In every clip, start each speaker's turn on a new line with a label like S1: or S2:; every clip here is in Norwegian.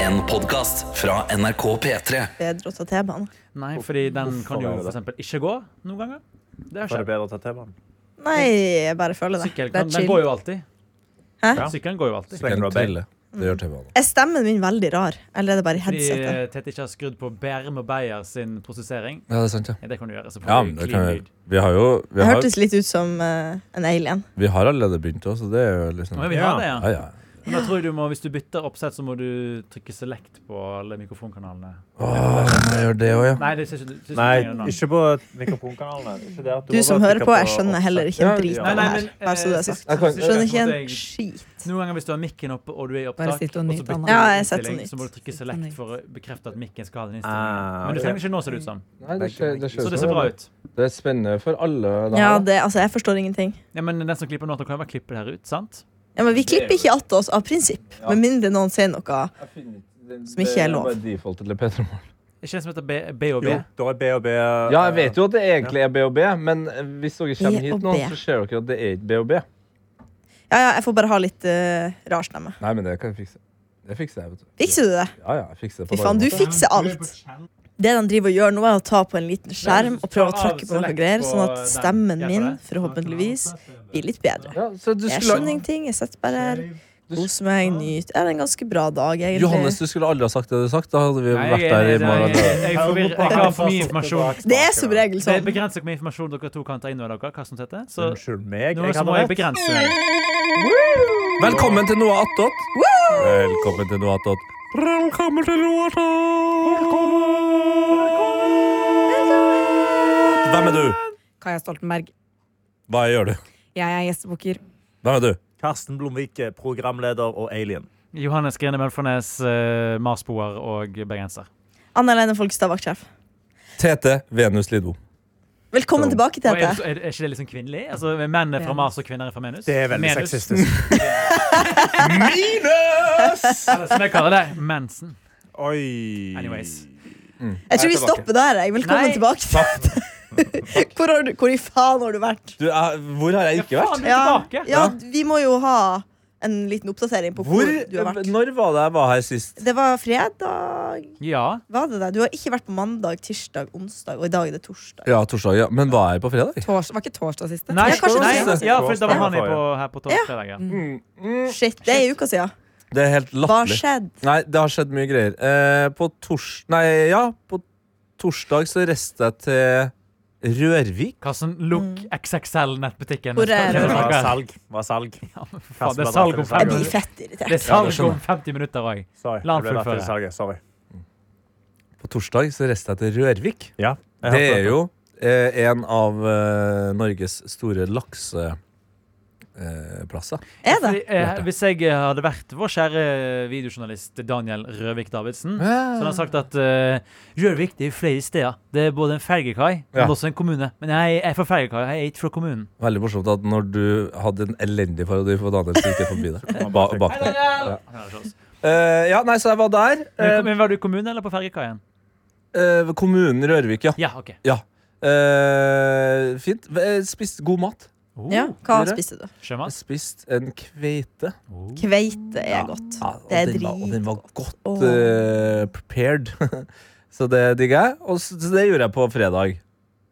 S1: En podcast fra NRK P3
S2: Bedre å ta T-banen.
S3: Nei, fordi den
S4: Hvorfor
S3: kan
S4: var
S3: jo
S4: det det?
S3: for eksempel ikke gå noen ganger. Det har
S4: Var det
S3: skjedd.
S4: bedre å ta T-banen?
S2: Nei, jeg bare føler det.
S3: Sykkelen
S2: Det
S3: kan,
S2: er
S3: den
S2: chill.
S3: går jo alltid.
S2: Hæ?
S3: Ja. Sykkelen går jo alltid.
S4: Slenger du av bein?
S5: Det gjør T-banen.
S2: Er stemmen min veldig rar, eller er det bare
S3: Fordi
S2: headsetet?
S3: eh, Tete ikke har skrudd på Bærum og Beyer sin prosessering.
S5: Ja, det er sant, ja.
S3: Ja, Det kan du gjøre. Så får
S5: ja
S3: du
S5: men det
S3: clean
S5: kan vi.
S3: lyd.
S5: Vi har jo vi
S2: Det
S5: har,
S2: hørtes litt ut som eh, en alien.
S5: vi har allerede begynt òg, så det er jo liksom
S3: Men
S5: ja,
S3: vi har det, ja.
S5: ja.
S3: Men da tror jeg du må, hvis du bytter oppsett, så må du trykke select på alle mikrofonkanalene.
S5: Åh, må jeg gjøre det òg, ja.
S3: Nei, det syns du syns du
S4: Nei,
S3: trenger noen.
S4: ikke på mikrofonkanalene. Ikke der,
S2: Du
S4: må
S2: som
S4: bare
S2: hører
S4: trykke
S2: på, jeg skjønnner heller ikke en
S5: Ja,
S2: drit
S4: ja.
S2: av det
S3: Nei, nei,
S2: her.
S3: men,
S2: Bare så det er
S3: eh,
S2: sagt.
S5: Jeg kan-
S3: sist-
S2: Skjønner ikke
S3: måtte
S2: en
S3: jeg-
S2: skit.
S3: Noen ganger hvis du har mikken oppe og du er i
S6: Bare
S3: opptak, og
S6: sitt
S3: så
S6: og nyt,
S3: bytter
S6: Anna.
S3: du
S2: Ja, jeg har sett
S3: innstilling,
S2: sånn ut.
S3: så må du trykke
S6: Sitt og nyt.
S3: select for å bekrefte at mikken skal ha den innstillingen.
S4: Ah,
S3: Men du
S4: ok.
S3: trenger ikke nå, ser det ut som.
S5: Nei, det ser, det, ser
S3: Så
S5: ut
S3: det
S5: som
S3: ser bra
S5: det.
S3: ut.
S5: det er spennende for alle. da.
S2: Ja, det, altså, jeg forstår ingenting.
S3: Ja, men den som klipper nå, da kan jo bare klippe det her ut, sant?
S2: Ja, men vi klipper ikke att oss av prinsipp, med mindre noen sier noe.
S5: Jeg finner ikke- det-
S2: Som ikke er lov.
S5: Det er bare defaultet til P3morgen.
S3: Er ikke det som heter B- BOB?
S4: Jo, da er B og B eh,
S5: Ja, jeg vet jo at det egentlig er BOB, men hvis dere kommer hit nå,
S2: B&B.
S5: så ser dere at det er ikke BOB.
S2: Ja, ja, jeg får bare ha litt uh, rar stemme.
S5: Nei, men det kan jeg fikse. Det fikser jeg, vet du.
S2: Fikser du det?
S5: Ja, ja, jeg fikser det
S2: Fy faen, du fikser alt. Det de driver og gjør nå, er å ta på en liten skjerm og prøve å trykke på noe greier, sånn at stemmen min forhåpentligvis blir litt bedre.
S5: Ja, så du
S2: Jeg
S5: skulle,
S2: skjønner ingenting. Jeg sitter bare her, koser meg, nyter. Det er en ganske bra dag,
S5: Johannes,
S2: egentlig.
S5: du skulle aldri ha sagt det du har sagt. Da hadde vi
S3: Nei,
S5: vært der i morgen.
S3: Jeg, jeg, jeg, forvirrer- jeg, har for mye informasjon.
S2: Det er som regel
S3: Det
S2: sånn.
S3: begrenser hvor mye informasjon dere to kan ta inn over dere. Karsten og Tete. Så
S4: Unnskyld meg.
S3: nå
S4: Jeg
S3: så må
S4: hadde
S3: jeg
S4: rett.
S3: begrense meg.
S5: Velkommen til noe attåt. Velkommen til noe attåt. Velkommen til noe attåt. Hvem er du?
S6: Kaja Stoltenberg.
S5: Hva gjør du?
S6: Jeg er gjestebukker.
S5: Hvem er du?
S4: Karsten Blomvik, eh, programleder og alien.
S3: Johannes Grine Mølfornes, eh, marsboer og bergenser.
S2: Anna Lene Folkestad, vaktsjef.
S5: Tete Venus Lido.
S2: Velkommen tilbake,
S3: Og er,
S2: Tete.
S3: er, er ikke det liksom kvinnelig? Altså, Menn er fra
S6: Ja.
S3: Mars, og kvinner er fra Venus?
S4: Det er veldig
S3: Venus,
S4: sexistisk.
S3: Eller som jeg kaller det, mensen.
S4: Oi.
S3: Anyways.
S2: Jeg tror vi
S4: tilbake.
S2: stopper der. jeg. Velkommen
S3: Nei.
S2: tilbake. Tete. Hvor, har du, hvor i faen har du vært?
S5: Du, jeg, hvor har jeg ikke
S3: Faen,
S5: vært?
S3: du er tilbake!
S2: ja, vi må jo ha en liten oppdatering på hvor,
S5: Hvor, eh,
S2: du har vært.
S5: når var det jeg var her sist?
S2: Det var fredag.
S3: Ja.
S2: Var det det? Du har ikke vært på mandag, tirsdag, onsdag, og i dag er det torsdag.
S5: Ja, torsdag, ja. Men var jeg på fredag?
S6: Tors, var ikke torsdag siste?
S3: Nei,
S2: Ja, kanskje
S3: nei,
S2: det
S4: er-
S3: ja, for da var han her på, her på torsdag. Ja.
S2: Shit, det er en uke siden.
S5: Det er helt
S2: Hva
S5: latterlig.
S2: skjedde?
S5: Nei, det har skjedd mye greier. Eh, på tors... Nei, ja. På torsdag så reiste jeg til Rørvik.
S3: Karsten, lukk XXL-nettbutikken.
S2: Hvor er
S4: Det
S3: Dere-
S4: var
S3: dere-
S4: salg. Det var salg.
S3: Faen, det er salg om
S2: Jeg
S3: fem
S2: blir
S3: minutter.
S2: fett irritert.
S3: Det er salg om 50 minutter òg.
S4: Sorry.
S3: La han
S4: jeg ble lagt til
S3: fullføre.
S4: salget, Sorry.
S5: På torsdag så reiste jeg til Rørvik.
S4: Ja,
S5: Det
S4: jeg hørte
S5: er jo eh, en av eh, Norges store eh, lakseplasser.
S2: Er det?
S3: Hvis jeg eh, hadde vært vår kjære videojournalist Daniel Røvik Davidsen, så hadde han sagt at eh, Rørvik det er flere steder. Det er både en fergekai
S5: Ja.
S3: men også en kommune. Men jeg er fra fergekai, jeg er ikke fra kommunen.
S5: Veldig morsomt at når du hadde en elendig parodi for Daniel, så gikk jeg forbi deg. Ba, bak deg.
S3: Han hører ikke oss.
S5: Eh, ja, nei, så jeg var der.
S3: Men
S5: Eh,
S3: men var du i kommunen eller på fergekaien?
S5: eh, kommunen Rørvik, ja.
S3: Ja, OK.
S5: ja. Eh, fint. Eh, Spiste god mat.
S3: Oh,
S2: Ja, hva
S5: Dere?
S2: spiste du?
S5: Jeg
S3: Sjømat?
S5: spiste en kveite.
S3: Oh.
S2: Kveite er godt.
S5: Ja, og,
S2: Det er
S5: den var, og den var godt
S2: Åh.
S5: eh, prepared. så det digger jeg. Og så, så det gjorde jeg på fredag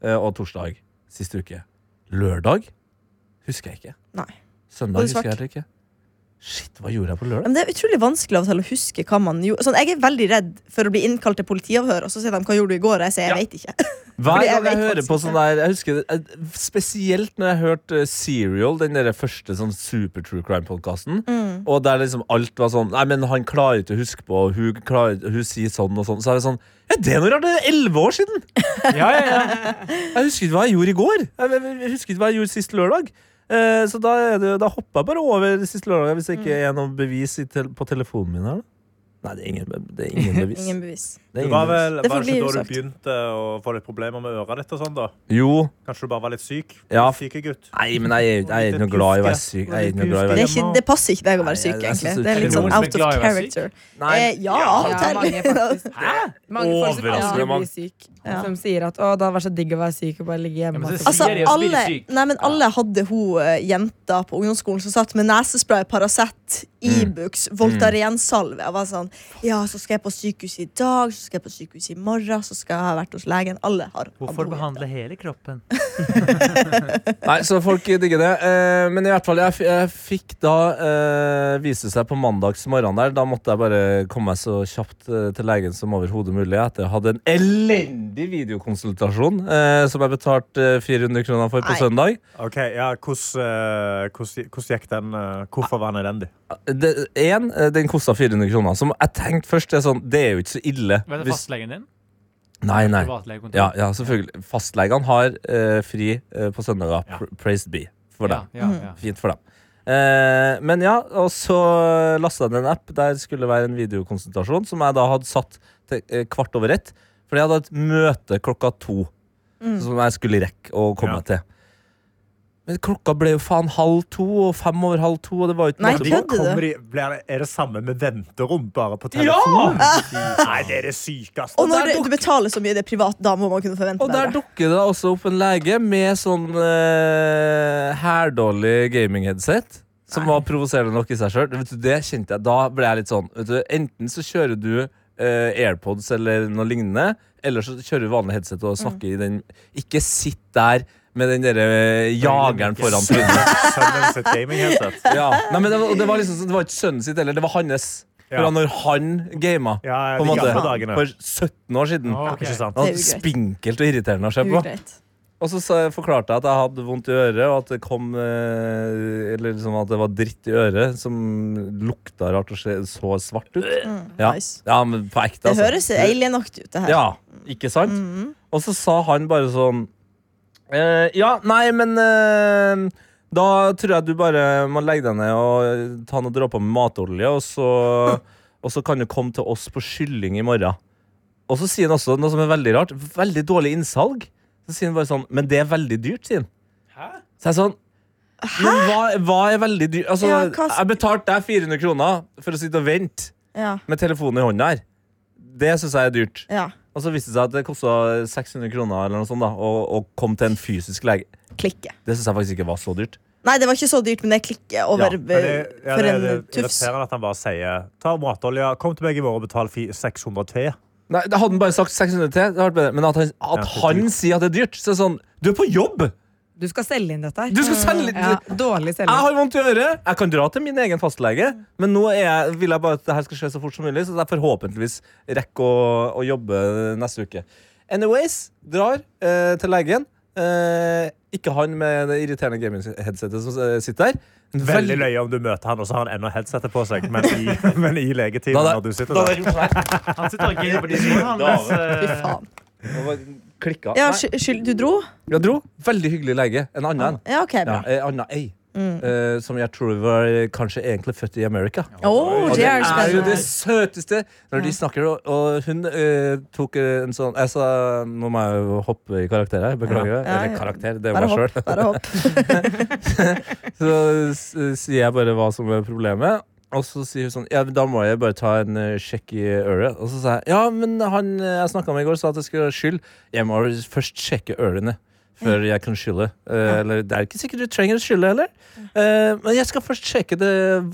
S5: eh, og torsdag sist uke. Lørdag husker jeg ikke.
S2: Nei. Var
S5: Søndag
S2: du
S5: husker
S2: svak?
S5: jeg heller ikke. Shit, hva gjorde jeg på lørdag?
S2: Men det er utrolig vanskelig av og til å huske hva man gjorde. Sånn, jeg er veldig redd for å bli innkalt til politiavhør, og så sier de 'hva gjorde du i går', og jeg sier 'jeg vet ikke'.
S5: Hver
S2: Fordi jeg
S5: gang jeg
S2: vet
S5: hører
S2: faktisk
S5: på sånn der jeg husker, det- eh, Spesielt når jeg hørte eh, Serial, den der første sånn super true crime-podkasten.
S2: Mm.
S5: Og der liksom alt var sånn Nei, men han klarer ikke å huske på, og hun, klarer, hun sier sånn og sånn. Så er det sånn Ja, det er noe rart! Det er elleve år siden!
S3: Ja, ja, ja.
S5: Jeg husker ikke hva jeg gjorde i går. Jeg, jeg, jeg husker ikke hva jeg gjorde sist lørdag. Eh, så da, er det, da hopper jeg bare over sist lørdag hvis det ikke
S2: Mm.
S5: er noe bevis i tel på telefonen min. her da. Nei, det er ingen, det er ingen bevis.
S2: Ingen bevis.
S5: Det er ingen
S4: Det var
S5: bevis.
S2: Det
S4: vel var det
S2: forblir
S4: ikke da
S2: usagt.
S4: du begynte å få litt problemer med øret ditt og sånn, da?
S5: Jo.
S4: Kanskje du bare var litt syk?
S5: Ja.
S4: Syke gutt.
S5: Nei, men jeg, er- jeg er ikke noe glad i å være syk. Jeg er ikke noe glad i å
S2: Det,
S5: være
S2: er ikke, det passer ikke deg å være
S5: Nei, jeg-
S2: syk,
S5: jeg
S2: egentlig.
S5: synes det
S2: Det
S5: er
S2: er litt
S3: utrolig.
S2: sånn out of
S3: Er det noen som er glad i å være syk?
S2: character.
S5: Nei,
S2: Eh, ja, av
S6: Ja,
S2: og
S6: mange
S2: til.
S6: faktisk. Mange folk som
S5: Overraskende
S6: aldri
S5: mange.
S6: blir syk,
S2: Ja.
S6: som sier at 'å, det hadde vært så digg å være syk og bare ligge
S3: Ja,
S6: hjemme'.
S3: men så
S6: og
S3: sier
S2: Altså,
S3: de, og så blir de
S2: alle,
S3: syk.
S2: nei, men alle hadde hun eh, jenta på ungdomsskolen som satt med nesespray, Paracet, Ibux, Voltaren-salve. Jeg var sånn Ja, så skal jeg på sykehus i dag, så skal jeg på sykehus i morgen, så skal jeg ha vært hos legen. Alle har
S3: Hvorfor
S2: alvorlig-
S3: behandle hele kroppen?
S5: Nei, så folk digger det. Eh, men i hvert fall, jeg, f jeg fikk da eh, Viste seg på mandags morgen der. Da måtte jeg bare komme meg så kjapt eh, til legen som overhodet mulig. Etter jeg hadde en elendig videokonsultasjon eh, som jeg betalte eh, 400 kroner for på
S2: Nei.
S5: søndag.
S4: Ok, ja, Hvordan eh, hvordan- hvordan gikk den? eh, Hvorfor var den elendig?
S5: Det- En, eh, den kosta 400 kroner. Som jeg tenkte først er sånn, det er jo ikke så ille.
S3: Var det
S5: Hvis-
S3: fastlegen din?
S5: Nei, nei.
S3: Privatlegekontor?
S5: Ja, ja selvfølgelig. Fastlegene har eh, fri eh, på søndager.
S4: Ja.
S5: Pr- Praised be for det.
S3: Ja, ja, ja.
S5: Fint for dem. Eh, men ja, og så lasta jeg ned en app der skulle det være en videokonsultasjon, som jeg da hadde satt til eh, kvart over ett. Fordi jeg hadde et møte klokka to som jeg skulle rekke å komme
S4: Ja.
S5: til. Men klokka ble jo faen halv to og fem over halv to, og det var jo ikke
S2: Nei,
S5: måte på.
S2: kødder du?
S4: Kommer de, blir det, er det samme med venterom, bare på telefon? Nei, det er det sykeste.
S2: Og når
S5: der
S2: det, du betaler så mye, det er privat, da må man kunne forvente
S5: Og der
S2: bedre.
S5: dukker det også opp en lege med sånn eh, hærdårlig gaming-headset. Som var provoserende nok i seg sjøl. Det kjente jeg. Da ble jeg litt sånn vet du, Enten så kjører du eh, AirPods eller noe lignende, eller så kjører du vanlig headset
S2: Mm.
S5: og snakker i den Ikke sitt der med den derre eh, jageren foran trynet.
S4: Sønnen sitt gaming-headset.
S5: Ja. Nei, men det, var, og det var liksom sånn, det var ikke sønnen sitt heller, det var hans.
S4: Ja.
S5: Fra når han gama,
S4: Ja, ja,
S5: på en
S4: de
S5: måte.
S4: gamle dagene.
S5: For 17 år siden.
S3: Å, ok.
S4: Ikke sant?
S2: Det er
S5: Det var
S2: jo greit.
S5: spinkelt og irriterende å se på.
S2: Ugreit.
S5: Og så sa- forklarte jeg at jeg hadde vondt i øret, og at det kom eh, Eller liksom at det var dritt i øret som lukta rart og se- så svart ut. Ja,
S2: Mm, Nice.
S5: ja men på ekte,
S2: Det
S5: altså.
S2: høres alienaktig ut, det her. Mm-hmm.
S5: Ja, ikke sant? Og så sa han bare sånn eh, Ja, nei, men eh, Da tror jeg du bare må legge deg ned og ta noen dråper med matolje, og så, og så kan du komme til oss på kylling i morgen. Og så sier han også noe som er veldig rart. Veldig dårlig innsalg. Så sier han bare sånn Men det er veldig dyrt, sier han. Så jeg er sånn Men hva, hva er veldig dyrt? Altså,
S2: Ja, hva-
S5: jeg betalte deg 400 kroner for å sitte og vente
S2: Ja.
S5: med telefonen i hånda her. Det syns jeg er dyrt.
S2: ja.
S5: Og så viste det seg at det kosta 600 kroner eller noe sånt da å, å komme til en fysisk lege.
S2: Klikke.
S5: Det syns jeg faktisk ikke var så dyrt.
S2: Nei, det var ikke så dyrt, men det klikker
S5: Ja,
S2: over eh,
S5: men
S4: Men det, ja,
S2: for
S4: det,
S2: en
S4: det er
S2: tufs.
S4: irriterende at han bare sier ta matolje, kom til meg i morgen og betal fi- 600 T.
S5: Nei, det Hadde han bare sagt 600 til, det hadde vært bedre. men at han,
S4: Ja,
S5: at
S4: det er
S5: han
S4: dyrt.
S5: sier at det er dyrt, så er det sånn Du er på jobb!
S6: Du skal selge inn dette her.
S5: Du skal selge
S6: Mm, Ja, dårlig
S5: Jeg
S6: selging.
S5: har vondt i øret! Jeg kan dra til min egen fastlege, men nå er jeg, vil jeg bare at det her skal skje så fort som mulig, så jeg forhåpentligvis rekker å, å jobbe neste uke. Anyways, drar eh, til legen. Eh, ikke han med det irriterende gaming-headsetet som eh, sitter der. En
S4: Veldig løye om du møter han, og så har han ennå headsetet på seg, men i, men i legetimen
S5: Da- da-
S4: når du sitter der.
S5: sånn
S3: Han sitter og gidder på de skoene, han.
S5: Da-
S2: Fy
S3: mens, eh,
S2: faen.
S5: Klikka.
S2: Ja,
S5: Nei.
S2: skyld, skyld, du dro?
S5: Jeg dro. Veldig hyggelig lege. En annen en.
S2: Ja, OK,
S5: Ja,
S2: bra.
S5: eh, anna ei. Eh, som jeg tror var eh, kanskje egentlig født i Amerika.
S2: Å, det er
S5: er jo det
S2: spennende.
S5: søteste når de snakker. Og, og hun eh, tok eh, en sånn jeg sa, Nå må jeg jo hoppe i karakter her. Beklager.
S2: Ja, ja.
S5: Eller karakter, det er
S2: Bare
S5: jo meg
S2: hopp.
S5: sjøl.
S2: Bare hopp.
S5: Så s- eh, sier jeg bare hva som er problemet. Og så sier hun sånn Ja, men da må jeg bare ta en eh, sjekk i øret. Og så sa jeg ja, men han eh, jeg snakka med i går, sa at jeg skulle skylle. Jeg må først sjekke ørene før jeg kan skylle. Eh, Eller det er ikke sikkert du trenger å skylle heller. Eh, men jeg skal først sjekke det,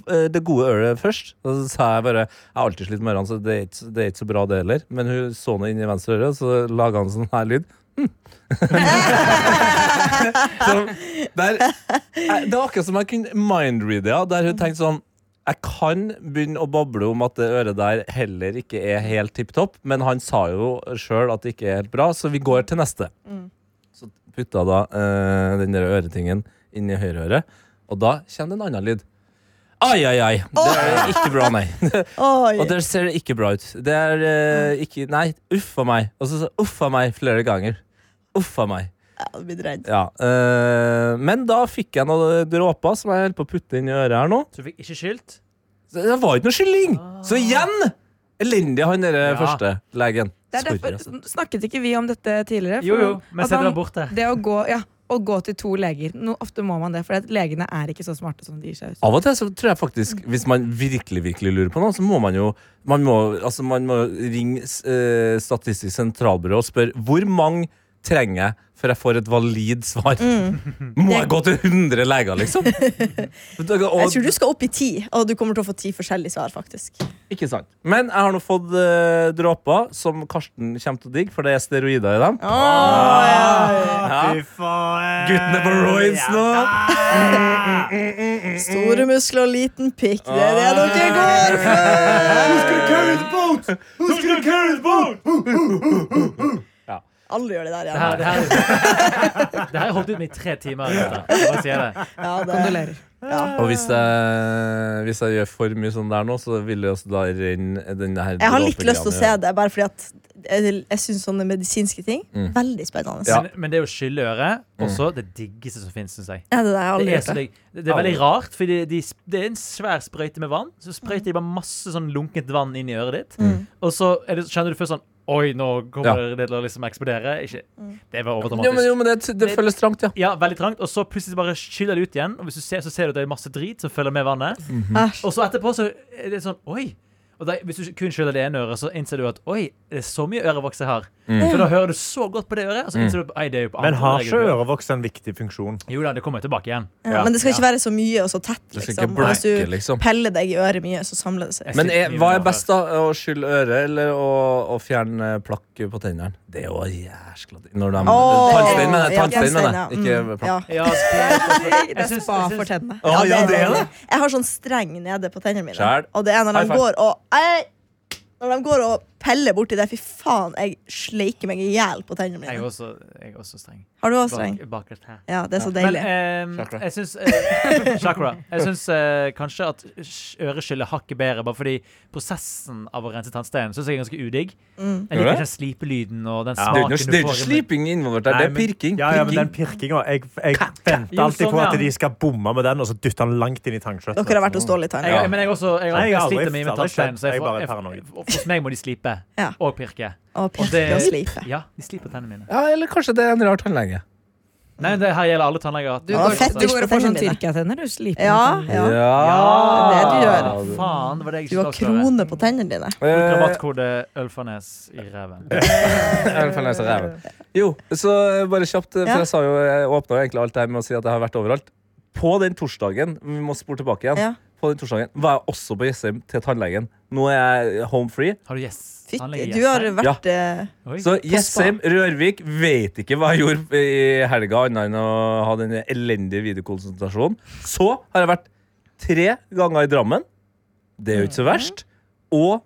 S5: eh, det gode øret først. Og så sa jeg bare Jeg har alltid slitt med ørene, så det er ikke, det er ikke så bra, det heller. Men hun så noe inni venstre øre, og så laga han sånn her lyd. Hm. Som- der jeg- Det var akkurat som jeg kunne mindreade ja, Der hun tenkte sånn Jeg kan begynne å bable om at det øret der heller ikke er helt tipp topp, men han sa jo sjøl at det ikke er helt bra, så vi går til neste. Så putta da eh, den der øretingen inn i høyre øre, og da kommer det en annen lyd. Ai, ai, ai. Det er ikke bra, nei.
S2: Oi.
S5: Og der ser det ikke bra ut. Det er eh, ikke Nei, uff a meg. Og så sa jeg uff a meg flere ganger. Uff a meg.
S2: Jeg hadde blitt redd.
S5: Ja, øh, men da fikk jeg noen dråper som jeg holdt på å putte inn i øret her nå.
S3: Så du fikk ikke skylt?
S5: Så det var ikke noe skylling! Så igjen! Elendig han derre
S3: Ja.
S5: første legen.
S6: Det er
S5: Sorry,
S6: derfor,
S5: altså.
S6: snakket ikke vi om dette tidligere? For-
S3: Jo, jo, men
S6: at
S3: se dere
S6: han-
S3: er borte.
S6: Det å gå, ja, å gå til to leger. No, ofte må man det, for at legene er ikke så smarte som de gir seg ut.
S5: Av og til så tror jeg faktisk hvis man virkelig virkelig lurer på noe, så må man jo man må, altså man må ringe eh, Statistisk sentralbyrå og spørre hvor mange trenger jeg før jeg får et valid svar?
S6: Mm.
S5: Må jeg gå til 100 leger, liksom?
S2: Jeg
S5: Og,
S2: tror du skal opp i ti, og du kommer til å få ti forskjellige svar, faktisk.
S5: ikke sant. Men jeg har nå fått eh, dråper som Karsten kommer til å digge, for det er steroider i dem. Ah, Ja.
S4: Fy faen.
S5: Guttene på roids nå.
S2: Store muskler og liten pikk, det er det dere går for!
S5: Ja.
S2: Alle gjør det der,
S3: Det her,
S2: ja.
S3: det her, det her har jeg holdt ut med i tre timer. Dette. Jeg bare sier det.
S2: ja det.
S6: Kondolerer.
S5: Og hvis jeg, hvis jeg gjør for mye sånn der nå, så vil det også da renne denne her
S2: Jeg har litt lyst til å se
S5: dråpegreiene.
S2: det, bare fordi at jeg, jeg syns sånne medisinske ting
S5: Mm.
S2: veldig spennende.
S5: Ja. Mm.
S3: Men, men det å skylle øret også det diggeste som fins, syns jeg.
S2: Er det det? Jeg har
S3: Det
S2: aldri
S3: er,
S2: gjort
S3: så
S2: det.
S3: digg. det det er veldig rart, for de, de, det er en svær sprøyte med vann. Så sprøyter de bare masse sånn lunkent vann inn i øret ditt.
S5: Mm.
S3: Og så er det, skjønner du først sånn Oi, nå kommer det til å liksom eksplodere. Ikke,
S6: Mm.
S3: det var
S5: Jo, men,
S3: overdramatisk.
S5: jo, men det, det føles trangt, ja.
S3: Ja, veldig trangt. Og så plutselig bare skyller det ut igjen. Og hvis du ser, så ser du at det er masse drit som følger med vannet.
S5: Mhm.
S2: Æsj.
S3: Og så etterpå så er det sånn Oi! Og da, hvis du kun skyller det ene øret, så innser du at oi, det er så mye ørevoks jeg har.
S5: Mm.
S3: For da hører du så godt på det øret, og så innser du at ei, det er jo på
S4: Men
S3: andre
S4: har
S3: øret
S4: ikke
S3: jeg bruker.
S4: ørevoks en viktig funksjon?
S3: Jo da, det kommer tilbake igjen.
S2: Ja, men det skal ikke være så mye og så tett.
S5: Det skal
S2: Liksom.
S5: ikke
S2: Og Hvis
S5: bleike,
S2: du
S5: liksom.
S2: peller deg i øret mye, så samler det seg.
S5: Men er,
S3: Sitter mye
S5: hva
S3: med
S5: er best, da? Å skylle øret eller å, å fjerne plakk på tennene? Det er jo jæskla digg. Når de
S2: Åh,
S5: Tannstein, mener jeg.
S2: ja,
S5: Tannstein, mener
S2: tannstein,
S5: jeg. Ikke
S2: ja. Mm,
S5: plakk.
S2: ja.
S3: Ja, det,
S6: Det
S3: Jeg
S6: er
S3: syns-
S6: spa
S3: jeg syns-
S6: for tennene.
S5: Å, ja, det er det.
S2: Jeg har sånn streng nede på tennene mine.
S5: Skjær.
S2: Og det er når de
S5: High five.
S2: går og Ei! Når de går og peller borti det, fy faen, jeg sleiker meg i hjel på tennene
S3: Jeg er
S2: mine.
S3: også, jeg er også streng.
S2: Har du også streng?
S3: Bak, bakerst her.
S2: Ja, det er så
S3: Men
S2: deilig.
S5: eh,
S3: ehm,
S5: Chakra.
S3: jeg syns eh, Chakra. Jeg syns eh, kanskje at sh- øreskyll er hakket bedre, bare fordi prosessen av å rense tannsteinen syns jeg er ganske udigg.
S2: Mm.
S3: Jeg liker
S5: Gjør det?
S3: ikke den slipelyden og den
S5: Det er
S3: smaken
S5: jo ikke noe- det
S3: du får.
S5: er jo ikke
S3: i munnen.
S5: sliping involvert der, det er
S4: Nei, men-
S5: pirking.
S4: Ja, ja, men den
S5: Pirking.
S4: pirkinga Jeg, jeg venter
S3: Jo,
S4: alltid på
S3: sånn,
S4: at
S3: ja.
S4: de skal bomme med den, og så dytter han langt inn i tannkjøttet.
S2: Dere har vært hos Dolly Time.
S3: Jeg, men jeg også jeg,
S4: Nei,
S3: jeg,
S4: jeg har
S3: sliter
S4: aldri-
S3: mye med
S4: aldri skjønt.
S3: tannsteinen. Så jeg,
S4: Jeg er bare
S3: får- jeg,
S4: paranoid.
S3: hos meg må de slipe
S2: Ja.
S3: og pirke.
S2: Og
S3: Og det-
S2: pirke og slipe.
S3: Ja, de sliper tennene mine.
S5: Ja, eller kanskje det er en rar tannlege.
S3: Nei, det her gjelder alle tannleger. altså. at-
S6: Du
S2: Ja,
S6: går,
S2: fett,
S6: du går og får sånn
S2: dine.
S6: Tyrkia-tenner. Du sliper
S2: Ja,
S6: med sånn-
S2: ja.
S5: Ja.
S2: Det er det du gjør.
S3: Faen, var det jeg
S2: Du har
S3: skulle avsløre.
S2: krone på tennene dine.
S5: Eh,
S3: Rabattkode Ølfarnes i ræven.
S5: i hvert fall når Eh, jeg ser ræven. Jo, så eh, bare kjapt, eh,
S2: Ja.
S5: for jeg sa jo Jeg åpna jo egentlig alt det her med å si at jeg har vært overalt. På den torsdagen Vi må spore tilbake igjen.
S2: Ja.
S5: På den torsdagen var jeg også på Jessheim til tannlegen. Nå er jeg home free.
S3: Har du gjess?
S2: Fytti,
S3: Tannlege
S2: du har
S3: Jessheim?
S2: vært eh,
S3: Oi.
S5: Så Jessheim Rørvik vet ikke hva jeg gjorde i helga, annet enn å ha den elendige videokonsultasjonen. Så har jeg vært tre ganger i Drammen. Det er jo ikke så verst. Og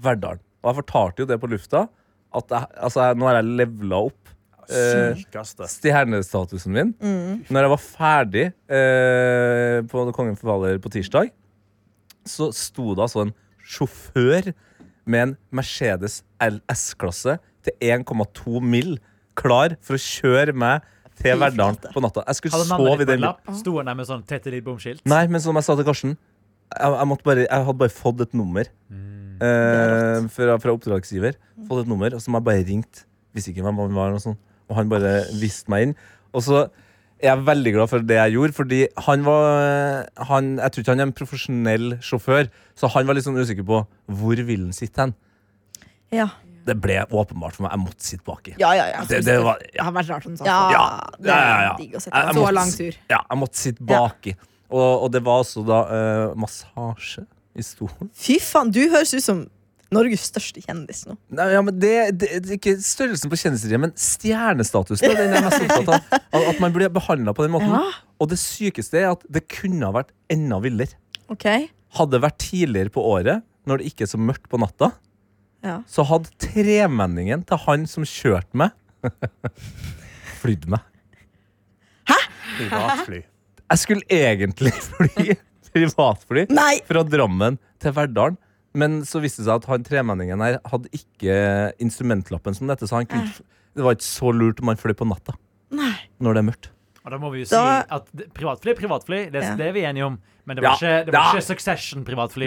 S5: Verdalen. Og jeg fortalte jo det på lufta, at jeg, altså, jeg, nå har jeg levela opp. eh,
S4: Sykeste.
S5: stjernestatusen min
S3: Mm.
S5: Når jeg var ferdig eh, på Kongen forfaller på tirsdag, så sto det altså en sjåfør med en Mercedes LS-klasse til 1,2 mill. klar for å kjøre meg til
S2: Fy
S5: Verdalen
S2: flate.
S5: på natta. Jeg skulle
S3: Hadde navnet
S5: sove i
S3: ditt på
S5: den
S3: en
S5: bilen.
S3: lapp? Sto han der med sånn tette ditt bomskilt?
S5: Nei, men som jeg sa til Karsten, jeg, jeg, måtte bare, jeg hadde bare fått et nummer eh, fra, fra oppdragsgiver.
S2: Mm.
S5: Fått et nummer, og så må jeg bare ringt. Visste ikke hvem han var, og, sånn. og han bare viste meg inn. Og så er jeg veldig glad for det jeg gjorde, fordi han var han, Jeg tror ikke han er en profesjonell sjåfør, så han var litt sånn usikker på hvor vil han sitte hen.
S2: Ja,
S5: Det ble åpenbart for meg. Jeg måtte sitte baki.
S2: ja, ja. ja.
S5: Det, det var,
S6: Det har vært rart om sånn.
S2: Ja,
S5: Ja,
S2: det
S5: ja, ja,
S2: er
S5: ja.
S2: digg å
S5: Jeg-
S2: sitte på.
S5: jeg
S6: Så
S5: måtte-
S6: lang tur.
S5: Ja, jeg måtte sitte baki. Og, og det var altså da eh, massasje i stolen.
S2: Fy faen, du høres ut som Norges største kjendis nå.
S5: Nei, ja, men det, det, det er Ikke størrelsen på kjendiseriet, men stjernestatusen. Det er den jeg er mest opptatt av. At- At man blir behandla på den måten. Og det sykeste er at det kunne ha vært enda villere.
S2: Ok?
S5: Hadde det vært tidligere på året, når det ikke er så mørkt på natta,
S2: Ja.
S5: så hadde tremenningen til han som kjørte meg, flydd meg.
S4: Privatfly.
S5: Jeg skulle egentlig fly privatfly
S2: Nei!
S5: fra Drammen til Verdalen. Men så viste det seg at han tremenningen her hadde ikke instrumentlappen som dette, så han kunne, det var ikke så lurt om han fløy på natta. Når det er mørkt.
S3: Og da må vi jo si
S2: Da-
S3: at det- privatfly, privatfly, det,
S2: Ja.
S3: det er vi enige om. Men det var
S5: Ja.
S3: ikke, det var
S5: Ja.
S3: ikke Succession privatfly.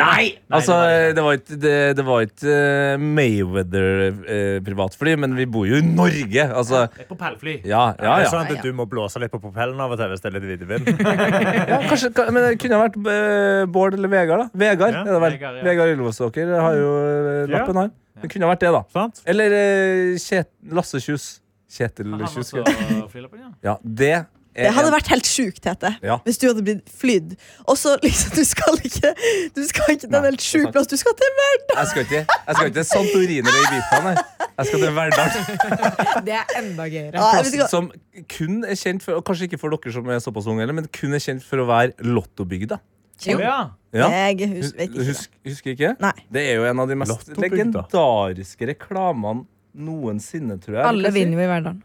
S5: altså,
S3: det var det ikke.
S5: det var ikke, det, det var ikke eh, Mayweather eh, privatfly, men vi bor jo i Norge. Altså,
S3: Et propellfly.
S5: ja, ja,
S4: Det er
S5: ja.
S4: sånn at du må blåse litt på propellen av og til hvis det er litt videvind.
S5: ja kanskje, ka- men det kunne ha vært eh, Bård eller Vegard, da. Vegard,
S4: Ja,
S5: er det vel?
S3: Vegard, ja.
S5: Vegard Ylvåsåker har jo eh,
S4: Ja.
S5: lappen, han. Det kunne ha vært det, da.
S4: Sant?
S5: Eller eh, Kjet- Lasse Kjus. Kjetil
S3: Han også
S5: Kjuske.
S3: flyr på den, ja.
S5: Ja, det er
S2: Det hadde
S5: en-
S2: vært helt sjukt, Tete.
S5: Ja.
S2: Hvis du hadde blitt flydd. Og så liksom, du skal ikke Du skal ikke til en
S5: Nei,
S2: helt
S5: det er
S2: sjuk
S5: sant.
S2: plass. Du skal til verden!
S5: jeg, skal ikke, jeg skal ikke til Santorini eller Ibiza, nei. Jeg skal til Verdal.
S6: Det er enda gøyere.
S2: Ja, jeg vet ikke
S5: Plassen
S2: hva-
S5: som kun er kjent for, og kanskje ikke for dere som er såpass unge, heller, men kun er kjent for å være Lottobygda.
S3: Å, ja.
S5: Ja.
S2: Jeg hus, vet ikke.
S5: Husk, husker ikke?
S2: Nei.
S5: Det er jo en av de mest
S4: Lottobygda.
S5: legendariske reklamene noensinne, tror jeg.
S6: Alle
S5: Kan jeg si.
S6: vinner vi i Verdalen.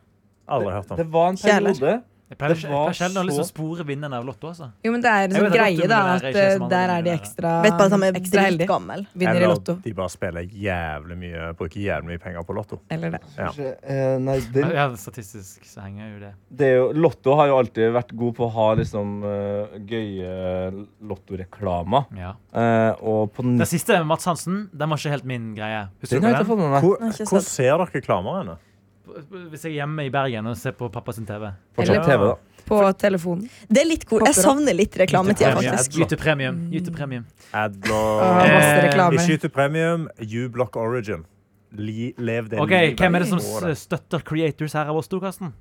S4: Aldri hørt om.
S5: Det var en
S2: Kjæler.
S5: periode
S3: Jeg pleier
S5: Det
S3: ikke- jeg
S5: var
S3: pleier sjelden å
S5: så-
S3: liksom spore vinneren av Lotto. altså
S6: Jo, men det er en
S3: Jeg
S6: sånn
S3: vet at
S6: greie, da.
S3: Lotto-millionærer
S6: At
S3: ikke er
S6: eh,
S3: som andre
S6: der er de
S3: millionærer.
S6: ekstra,
S2: Vet bare at han er
S6: Ah, ekstra heldige.
S2: dritgammel.
S6: Vinner i
S4: Eller
S6: Lotto.
S4: de bare spiller jævlig mye bruker jævlig mye penger på Lotto.
S6: Eller det.
S4: Ja.
S5: Eh, nei, den,
S3: Ja, Statistisk så henger jo det.
S5: det er jo, Lotto har jo alltid vært god på å ha liksom, eh, gøye lottoreklamer.
S3: Ja.
S5: Eh, og på
S3: Den siste med Mats Hansen, den var ikke helt min greie. Husker
S5: Den
S3: dere
S5: har jeg ikke
S3: den?
S5: fått med meg.
S4: Hvor,
S2: Nei, ikke sant.
S4: hvor ser dere reklamer henne?
S3: Hvis jeg er hjemme i Bergen og ser på pappa sin TV.
S5: Fortsatt
S4: Eller-
S5: TV, da.
S6: På telefonen.
S2: Det er litt cool. Jeg
S6: Popper opp.
S2: savner litt reklametida,
S4: Premie.
S2: faktisk.
S3: Gytepremium. Gytepremium.
S4: Ah, Adler
S6: Og Ah, masse
S3: Eh,
S6: reklame.
S4: Ikke ut i premium. U-Block Origin. Li, lev det
S3: Ok,
S4: livet.
S3: Hvem er det som
S4: Få
S3: s- støtter creators her av oss to, Karsten?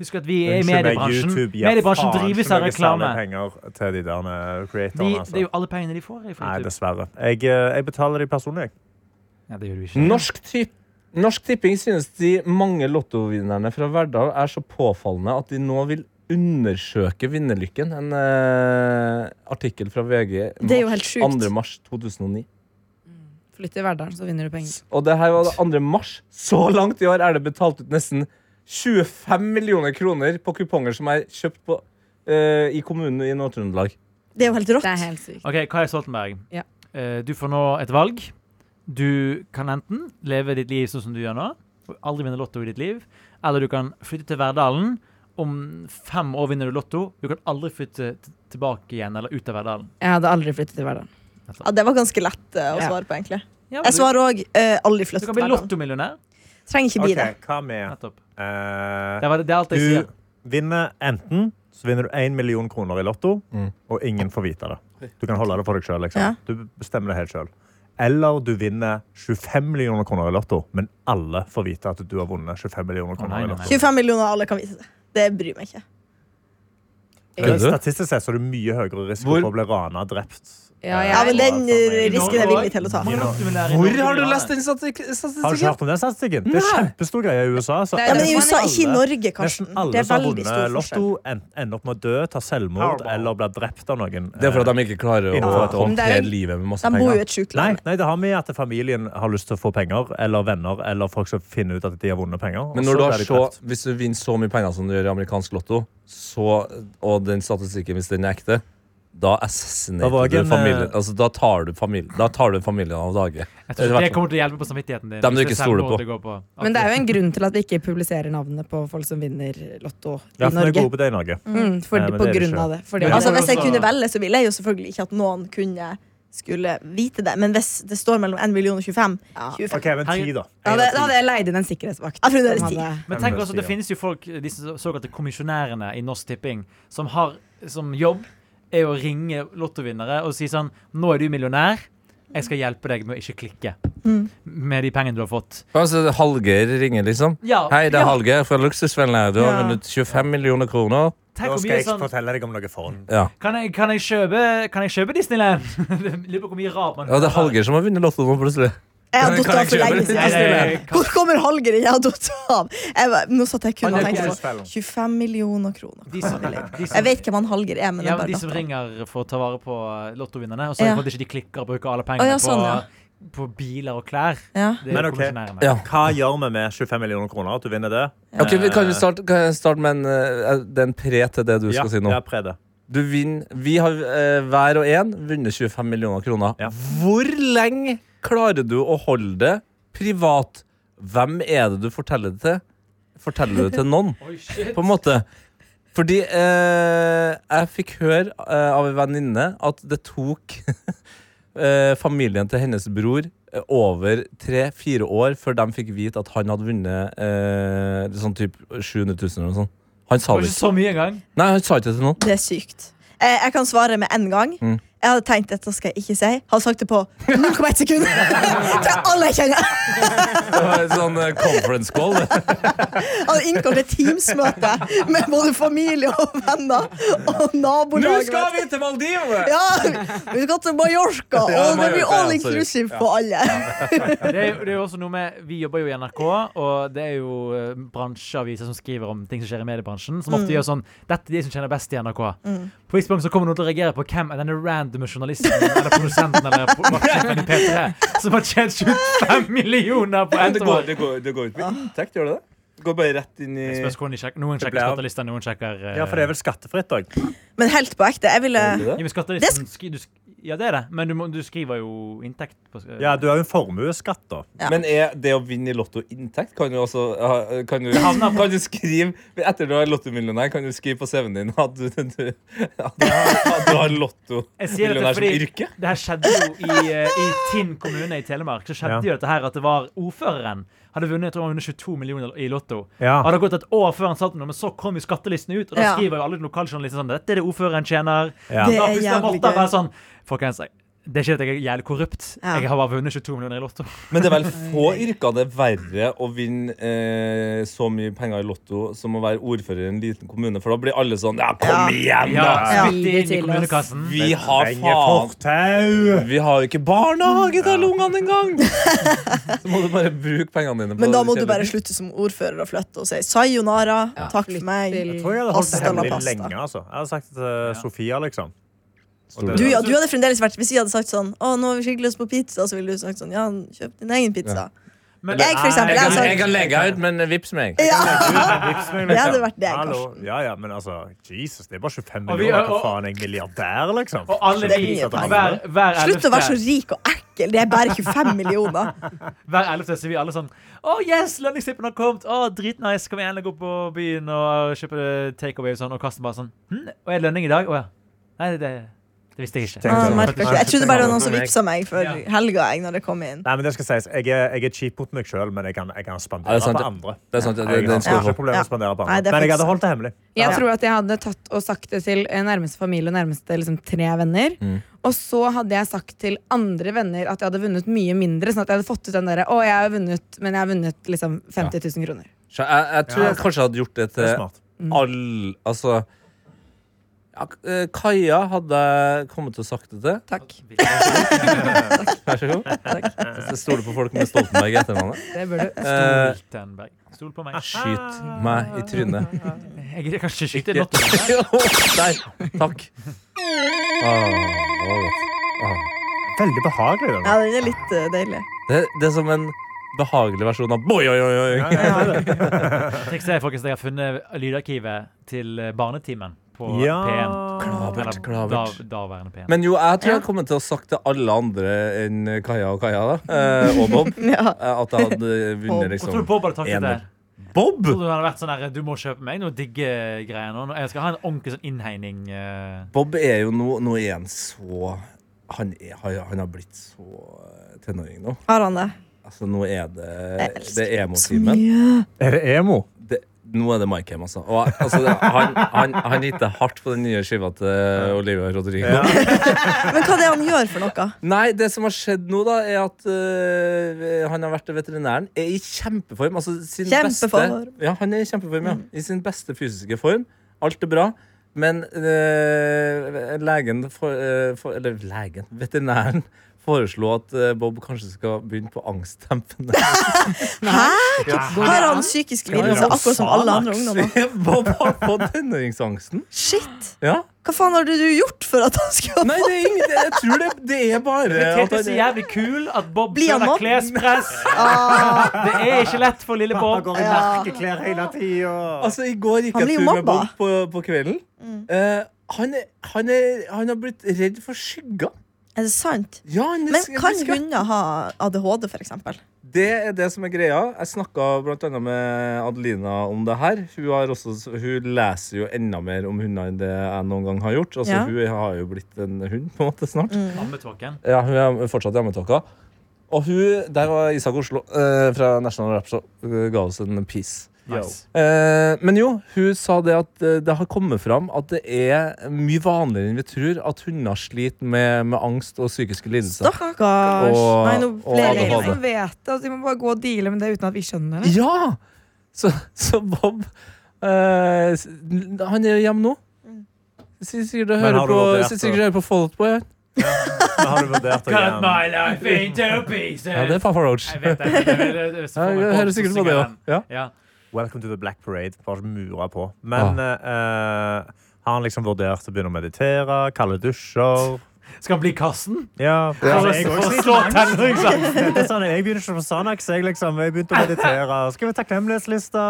S3: Husk at vi er i
S4: Unnskyld meg,
S3: mediebransjen.
S4: YouTube gir
S3: Mediebransjen
S4: faen
S3: drives
S4: ikke
S3: av
S4: noe særlig
S3: reklame.
S4: penger til de der eh,
S3: De,
S4: creatorene.
S3: det er
S4: Altså.
S3: jo alle pengene de får er fra
S4: Nei,
S3: YouTube.
S4: dessverre. Jeg, eh, jeg betaler de personlig. jeg.
S3: Ja, det gjør du ikke.
S5: Norsk, tipp, Norsk Tipping synes de mange lottovinnerne fra Verdal er så påfallende at de nå vil undersøke vinnerlykken. En eh, artikkel fra VG
S2: Det er jo
S5: mars-
S2: helt sjukt.
S5: 2. mars 2009.
S6: Flytt til Verdalen, så vinner du penger.
S5: Og det her var det 2. mars. Så langt i år er det betalt ut nesten 25 millioner kroner på kuponger som er kjøpt på, eh, i kommunen i Nord-Trøndelag.
S2: Det er jo helt rått.
S6: Det er helt sykt.
S3: Ok, Kai Stoltenberg.
S6: Ja.
S3: Eh, Du får nå et valg. Du kan enten leve ditt liv sånn som du gjør nå, og aldri vinne lotto i ditt liv, eller du kan flytte til Verdalen. Om fem år vinner du lotto. Du kan aldri flytte t- tilbake igjen eller ut av Verdalen.
S6: Jeg hadde aldri flyttet til Verdalen.
S2: Ja, det var ganske lett eh, å
S6: Ja.
S2: svare på, egentlig.
S3: Ja, men
S2: Jeg
S3: du,
S2: svarer òg uh, aldri flytt
S3: du
S2: til
S3: kan bli
S2: Bergen.
S3: lottomillionær.
S2: Trenger ikke bli
S4: Ok, Hva med
S3: Nettopp.
S4: eh,
S3: Det, var, det er alt jeg
S4: Du
S3: sier.
S4: vinner enten så vinner du 1 million kroner i lotto,
S5: Mm.
S4: og ingen får vite det. Du kan holde det for deg sjøl. Liksom.
S2: Ja.
S4: Du bestemmer det helt sjøl. Eller du vinner 25 millioner kroner i lotto, men alle får vite at du har vunnet 25 millioner kroner
S3: nei, nei,
S4: i
S2: det.
S4: lotto.
S2: 25 millioner alle kan vise seg. Det bryr meg ikke.
S4: Men
S5: Kødder du?
S4: Eh, Statistisk sett så er det mye høyere risiko
S5: Hvor-
S4: for å bli rana og drept.
S6: Ja,
S4: Eh,
S6: jeg-
S2: Ja, men den eh,
S4: sammenheng.
S2: risken er jeg villig til å ta.
S3: Mange lottomillionærer i
S5: Hvor
S3: Norge
S5: har du
S3: vil ha
S5: lest
S3: det.
S5: den stati-
S4: Har du ikke
S5: statistikken?
S4: hørt om den statistikken? Det er
S5: Nei.
S4: kjempestor greie i USA. Så
S6: Det er
S2: Ja, men i
S6: Nesten
S2: USA, ikke i
S4: alle-
S2: Norge,
S4: Nesten
S2: Karsten.
S4: alle
S2: Det er
S4: som har
S2: veldig
S4: vunnet
S2: stor
S4: lotto,
S2: forskjell.
S4: en- ender opp med å dø, tar selvmord
S3: Powerball.
S4: eller blir drept av noen.
S5: Det er for at de ikke klarer å
S4: Innenfor et år.
S6: Men det er
S5: håndtere
S6: jo-
S5: livet med masse
S2: De bor jo i
S5: penger.
S2: et sjukt
S4: Nei,
S2: land.
S4: nei, det har med at familien har lyst til å få penger, eller venner, eller folk som finner ut at de har vunnet penger. og
S5: Men når
S4: så
S5: du
S4: blir
S5: har
S4: de
S5: så,
S4: drept.
S5: hvis du vinner så mye penger som du gjør i amerikansk lotto, så, og den statistikken, hvis den er ekte, da
S4: Da var
S5: assassinater
S4: jeg
S5: du
S4: en,
S5: familien.
S4: eh,
S5: Altså, da tar du familien, da tar du familien av dage.
S3: Jeg tror ikke Det kommer til å hjelpe på samvittigheten din.
S5: Dem du
S3: hvis er
S5: ikke stoler
S3: selvmord
S5: på.
S3: det går på.
S6: Men det er jo en grunn til at vi ikke publiserer navnene på folk som vinner Lotto i
S4: Ja, for vi er
S6: Norge.
S4: gode på det i Norge.
S6: Mm, for,
S4: Nei, men
S6: på
S4: det er det
S6: grunn
S4: ikke.
S6: av det. Fordi,
S3: Men-
S6: altså,
S2: Altså, hvis jeg
S3: også-
S2: kunne velge, så ville jeg jo selvfølgelig ikke at noen kunne skulle vite det. Men hvis det står mellom 1 million og 25
S6: ja.
S2: 25
S4: OK, men ti, da.
S6: da, hadde, da hadde jeg leid inn en sikkerhetsvakt.
S2: Jeg tror det er
S6: som
S2: ti.
S6: hadde-
S3: Men tenk også at det finnes jo folk, de så- såkalte kommisjonærene i Norsk Tipping, som har som jobb er å ringe lottovinnere og si sånn Nå er du millionær. Jeg skal hjelpe deg med å ikke klikke
S2: Mm.
S3: med de pengene du har fått.
S5: Altså, Hallgeir ringer, liksom.
S3: Ja,
S5: Hei, det er
S3: ja.
S5: Hallgeir fra Luksusvennene. Du har
S2: Ja.
S5: vunnet 25 millioner kroner.
S3: Tenk
S4: Nå
S3: hvor
S4: skal
S3: mye
S4: jeg
S3: sånn
S4: fortelle deg om noe fond.
S5: Ja.
S3: Kan jeg, kan jeg kjøpe Kan jeg kjøpe Disneyland? Lurer på hvor mye rart man
S5: ja, det er Hallgeir som har vunnet lotto nå, plutselig.
S2: Jeg har
S5: Kan jeg-
S2: datt
S5: kan
S2: av for
S5: jeg kjøpe
S2: lenge
S5: det?
S3: Nei,
S2: siden.
S3: nei, nei,
S2: Hvor kommer Hallgren? Jeg har datt av! Jeg, var- nå satt jeg kun og
S3: Han er
S2: tenkte på
S4: kompisfellen.
S2: 25 millioner kroner.
S3: de som, de som,
S2: Jeg vet hvem han Hallgren er, men
S3: ja,
S2: jeg
S3: men
S2: bare
S3: de som
S2: datt av.
S3: ringer for å ta vare på eh, lottovinnerne, og sørger
S2: Ja.
S3: for at de ikke klikker og bruker alle pengene
S2: Å, ja, sånn, ja.
S3: på, på biler og klær.
S2: Ja.
S3: Det er
S4: Men ok.
S3: kommisjonærene.
S5: Ja.
S4: Hva gjør vi med 25 millioner kroner? At du vinner det? Eh,
S5: Ok, vi kan, vi starte, kan jeg starte med en, eh, det er en pre til det du skal si nå?
S4: Ja, pre det.
S5: Du vinner Vi har eh, hver og en vunnet 25 millioner kroner.
S4: Ja.
S5: Hvor lenge klarer du å holde det privat? Hvem er det du forteller det til? Forteller du det til noen,
S3: Oi, shit.
S5: på en måte? Fordi eh, jeg fikk høre eh, av en venninne at det tok eh, familien til hennes bror eh, over tre-fire år før de fikk vite at han hadde vunnet eh, sånn typ 700 000 eller noe sånt. Han
S3: Det
S5: sa
S3: var
S5: det
S3: ikke
S5: ikke.
S3: så mye engang.
S5: Nei, han sa ikke det til noen.
S2: Det er sykt. Eh, Jeg kan svare med en gang.
S5: Mm.
S2: Jeg hadde tenkt dette skal jeg ikke si. Hadde sagt det på 0,1 sekund! Til alle jeg kjenner!
S5: Det var en sånn eh, conference call.
S2: Hadde innkalt et Teams-møte med både familie og venner og
S5: Nå
S2: nabolaget.
S5: skal vi til Maldivene!
S2: Ja, vi skal til Mallorca,
S5: Ja,
S2: og det blir
S5: Mallorca,
S2: all
S5: ja,
S2: inclusive for alle.
S3: Det er, jo- det er jo også noe med Vi jobber jo i NRK, og det er jo eh, bransjeaviser som skriver om ting som skjer i mediebransjen, som ofte
S2: Mm.
S3: gjør sånn Dette er de som tjener best i NRK. På et tidspunkt så kommer noen til å reagere på hvem er denne random journalisten eller produsenten eller pro- vaktsjefen i P3 som har tjent 25 millioner på
S5: Men det
S3: ett
S5: går,
S3: år.
S5: det, går, det går ikke med inntekt, gjør det det? Det går bare rett inn i
S3: Det Spørs hvordan de sjekker. Noen sjekker
S5: ble av.
S3: skattelista, noen sjekker eh,
S4: Ja, for det er vel skattefritt òg.
S2: Men helt på ekte. Jeg ville
S5: Gjør det det?
S3: Ja, men skattelisten skri, du, sk- Ja, det er det, men du, må, du skriver jo inntekt på sk-
S4: Ja, du har jo en formuesskatt, da.
S2: Ja.
S5: Men er det å vinne i Lotto inntekt? Kan du også ha- kan du,
S3: havner på-
S5: kan du skrive Etter du er lottomillionær, kan du skrive på CV-en din at du, du, at du, at du har
S3: Jeg sier dette
S5: lottomillionær som
S3: fordi
S5: yrke?
S3: det her skjedde jo i, eh, i Tinn kommune i Telemark. Så skjedde
S4: Ja.
S3: jo dette her at det var ordføreren hadde vunnet jeg tror han vunnet 22 millioner i Lotto.
S4: Ja.
S3: Hadde gått et år før han satt med, men så kom jo skattelisten ut, og da
S2: Ja.
S3: skriver jo alle lokaljournalister sånn Dette er det ordføreren tjener.
S4: Ja.
S2: Det
S3: Da
S2: er
S3: plutselig
S2: jævlig
S3: måtte han
S2: gøy.
S3: være sånn Folkens, jeg- det er ikke at jeg er jævlig korrupt.
S2: Ja.
S3: Jeg har bare vunnet 22 millioner i Lotto.
S5: Men det er vel få yrker det er verre å vinne eh, så mye penger i Lotto som å være ordfører i en liten kommune, for da blir alle sånn Ja, kom igjen, da!
S3: Ja,
S6: Ja.
S3: spytt det inn i
S6: Veldig til oss.
S3: kommunekassen.
S5: Vi har faen
S4: fortau!
S5: Vi har jo ikke barnehage til alle ungene engang! Så må du bare bruke pengene dine på
S2: Men da må du bare
S5: kjæledyr.
S2: slutte som ordfører og flytte og si sayonara.
S6: Ja,
S2: Takk
S6: flytt
S2: for meg.
S6: til-
S4: Jeg tror jeg hadde holdt det
S2: Pasta la
S4: hemmelig
S2: pasta.
S4: lenge. altså. Jeg hadde sagt det til Sofia, liksom.
S5: Stor-
S2: Du, ja, du hadde fremdeles vært Hvis jeg hadde sagt sånn Å, nå har vi skikkelig lyst på pizza, så ville du sagt sånn Ja, kjøp din egen pizza.
S3: Men-
S2: Jeg, for eksempel,
S3: Nei,
S5: Jeg
S2: jeg
S5: kan,
S2: sa-
S5: jeg kan legge ut, men vips meg.
S4: Vips meg,
S2: Det hadde
S4: liksom.
S2: vært deg,
S4: Hallo.
S2: Karsten.
S4: Ja, ja, men altså, Jesus, det er bare 25
S3: Og vi-
S4: millioner. Hva
S3: og-
S4: faen, jeg er milliardær, liksom?
S3: Og alle
S2: Det er
S3: vi,
S2: mye penger.
S3: hver, hver
S2: Slutt å være så
S3: ellevte-
S2: rik og ekkel. Det er bare 25 millioner.
S3: Hver ellevte så er vi alle sånn Å, yes, lønningstippen har kommet! Å, dritnice! Kan vi endelig gå på byen og kjøpe eh, takeaway og sånn? Og Karsten bare sånn hm, Og er lønning i dag? Å ja. Nei, det, det visste jeg ikke.
S4: Tenk
S2: Ah,
S4: sånn.
S2: merker ikke. Jeg trodde bare det var noen som
S5: Meg.
S2: vippsa meg før
S3: Ja.
S2: helga jeg når det kom inn.
S4: Nei, men det skal sies. Jeg er, jeg er kjip mot meg sjøl, men jeg kan, jeg kan
S5: Ja,
S4: spandere
S5: det er sant,
S4: på
S5: ja.
S4: andre.
S5: Det er sant, ja, det,
S4: Jeg
S5: det er en
S4: har
S5: stor
S4: ikke
S5: hopp.
S4: problemer
S2: Ja.
S4: med å spandere på
S2: Nei,
S4: andre.
S2: det er
S4: Men jeg hadde
S2: faktisk-
S4: holdt det hemmelig.
S2: Ja.
S6: Jeg tror at jeg hadde tatt og sagt det til eh, nærmeste familie og nærmeste liksom, tre venner.
S2: Mm.
S6: Og så hadde jeg sagt til andre venner at jeg hadde vunnet mye mindre. Sånn at jeg hadde fått ut den derre Å, jeg har vunnet, men jeg har vunnet liksom 50 000 kroner.
S5: Så Jeg, jeg tror
S4: Ja.
S5: jeg kanskje hadde gjort det
S4: Det
S5: til
S4: er smart.
S5: alle Altså ja, eh, Kaja hadde jeg kommet til å sagt det til.
S6: Takk.
S5: Vær så god.
S6: Takk.
S5: Jeg stoler på folk med Stoltenberg i etternavnet.
S6: Det bør du.
S5: Eh,
S3: Stoltenberg. Stol på meg.
S5: skyt meg i trynet.
S3: Jeg kan ikke skyte
S5: Ikke-
S3: en lotto.
S5: Der. Takk. Ah, det var godt. Ah.
S4: Veldig behagelig.
S2: Ja,
S4: Den.
S2: den er litt eh, deilig.
S5: Det, det er som en behagelig versjon av boi, oi, oi, oi.
S3: Trikset er faktisk at jeg har funnet lydarkivet til eh, Barnetimen på
S4: Ja.
S3: P1.
S5: Klabert,
S3: Eller
S5: klabert.
S3: Da, daværende P1.
S5: Men jo, jeg tror jeg kommer til å sagt til alle andre enn Kaja og Kaja, da. Eh, og Bob.
S2: Ja.
S5: eh, At jeg hadde vunnet,
S3: Hva tror
S5: liksom.
S3: du Bob hadde takket det?
S5: ener. Bob!
S3: Tror du han hadde vært sånn her Du må kjøpe meg noe digge greier nå. Jeg skal ha en ordentlig sånn innhegning. eh,
S5: Bob er jo nå Nå er han så Han, er, han- han har blitt så eh, tenåring nå.
S2: Har han det?
S5: Altså, nå er det
S2: Jeg elsker
S5: Det
S2: Så
S5: er emo-timen.
S2: mye.
S4: Er det emo?
S5: Det- Nå er det Mike Hem, altså. Og, altså det- han, han, han hitter hardt på den nye skiva til Olivia Rodrigo.
S2: Men hva er det han gjør for noe?
S5: Nei, det som har skjedd nå, da, er at øh, han har vært til veterinæren. Er i kjempeform. Altså sin
S2: Kjempeform.
S5: beste Ja, han er i kjempeform, ja. I sin beste fysiske form. Alt er bra. Men øh, legen for, øh, for, Eller legen. Veterinæren foreslo at øh, Bob kanskje skal begynne på angstdempende.
S2: Har han psykisk lidelse, akkurat som alle andre ungdommer?
S5: Bob har fått tenåringsangsten.
S2: Shit!
S5: Ja.
S2: Hva faen har du gjort for at han skulle
S5: Nei, det er ingen, jeg tror det, det er bare
S3: Det er
S5: at han
S3: så
S5: er-
S3: jævlig kul at Bob
S2: Blir han
S3: føler
S2: mobb?
S3: klespress. Det er ikke lett for lille Bob.
S4: går i merkeklær hele tida.
S5: Altså, I går gikk
S2: Han blir
S5: jeg tur med
S2: mobba. Mm.
S5: Bob på, på kvelden. Eh, han, er, han, er, han har blitt redd for skygger.
S2: Er det sant?
S5: Ja, han er
S2: Men
S5: sk-
S2: kan
S5: han er skremt.
S2: hunder ha ADHD, for eksempel?
S5: Det er det som er greia. Jeg snakka bl.a. med Adelina om det her. Hun, har også, hun leser jo enda mer om hunder enn det jeg noen gang har gjort. Altså,
S2: Ja. Mm.
S5: Hun har jo blitt en hund på en måte snart.
S3: Ammetåken.
S5: Ja, hun er fortsatt i ammetåka. Og hun, der var Isak Oslo eh, fra National Rap Show, eh, ga oss en piece.
S3: Nice.
S5: Eh, men jo, hun sa det at eh, det har kommet fram at det er mye vanligere enn vi tror at hunder sliter med, med angst og psykiske lidelser.
S2: Stakkars.
S5: Og-
S2: Nei, nå
S5: og
S2: ble
S6: Det
S5: Ja,
S6: er
S5: det
S2: jeg
S5: var
S6: ingen
S5: det.
S2: lei meg.
S6: som vet det. Altså, vi må bare gå og deale med det uten at vi skjønner det.
S5: Ja! Så, så Bob eh, s- Han er hjemme nå. Sitter sikkert og
S4: Men
S5: hører
S4: har du
S5: på,
S4: vurdert
S5: sitter
S4: å-
S5: sikkert og hører på Fall Out Boy. han.
S4: Men har du vurdert å
S3: Cut
S4: gjøre
S3: my life into pieces!
S5: Ja, det er Papa Roach.
S3: Jeg
S5: Jeg
S3: vet det. Jeg, jeg, jeg, jeg,
S5: hører sikkert på det òg. Ja.
S3: Ja.
S4: Welcome to the Black Parade? Bare mura på. Men
S5: Ah.
S4: eh, har han liksom vurdert å begynne å meditere? Kalde dusjer?
S3: Skal han bli Karsten?
S4: Ja.
S3: For
S4: Altså,
S3: å-
S4: jeg
S3: for å
S4: også
S3: slå
S4: sliter med angst.
S3: tenåringsangst?
S4: Det er sånn, jeg begynner ikke på Sanax. Jeg, liksom, jeg begynte å meditere. Skrive takknemlighetslista.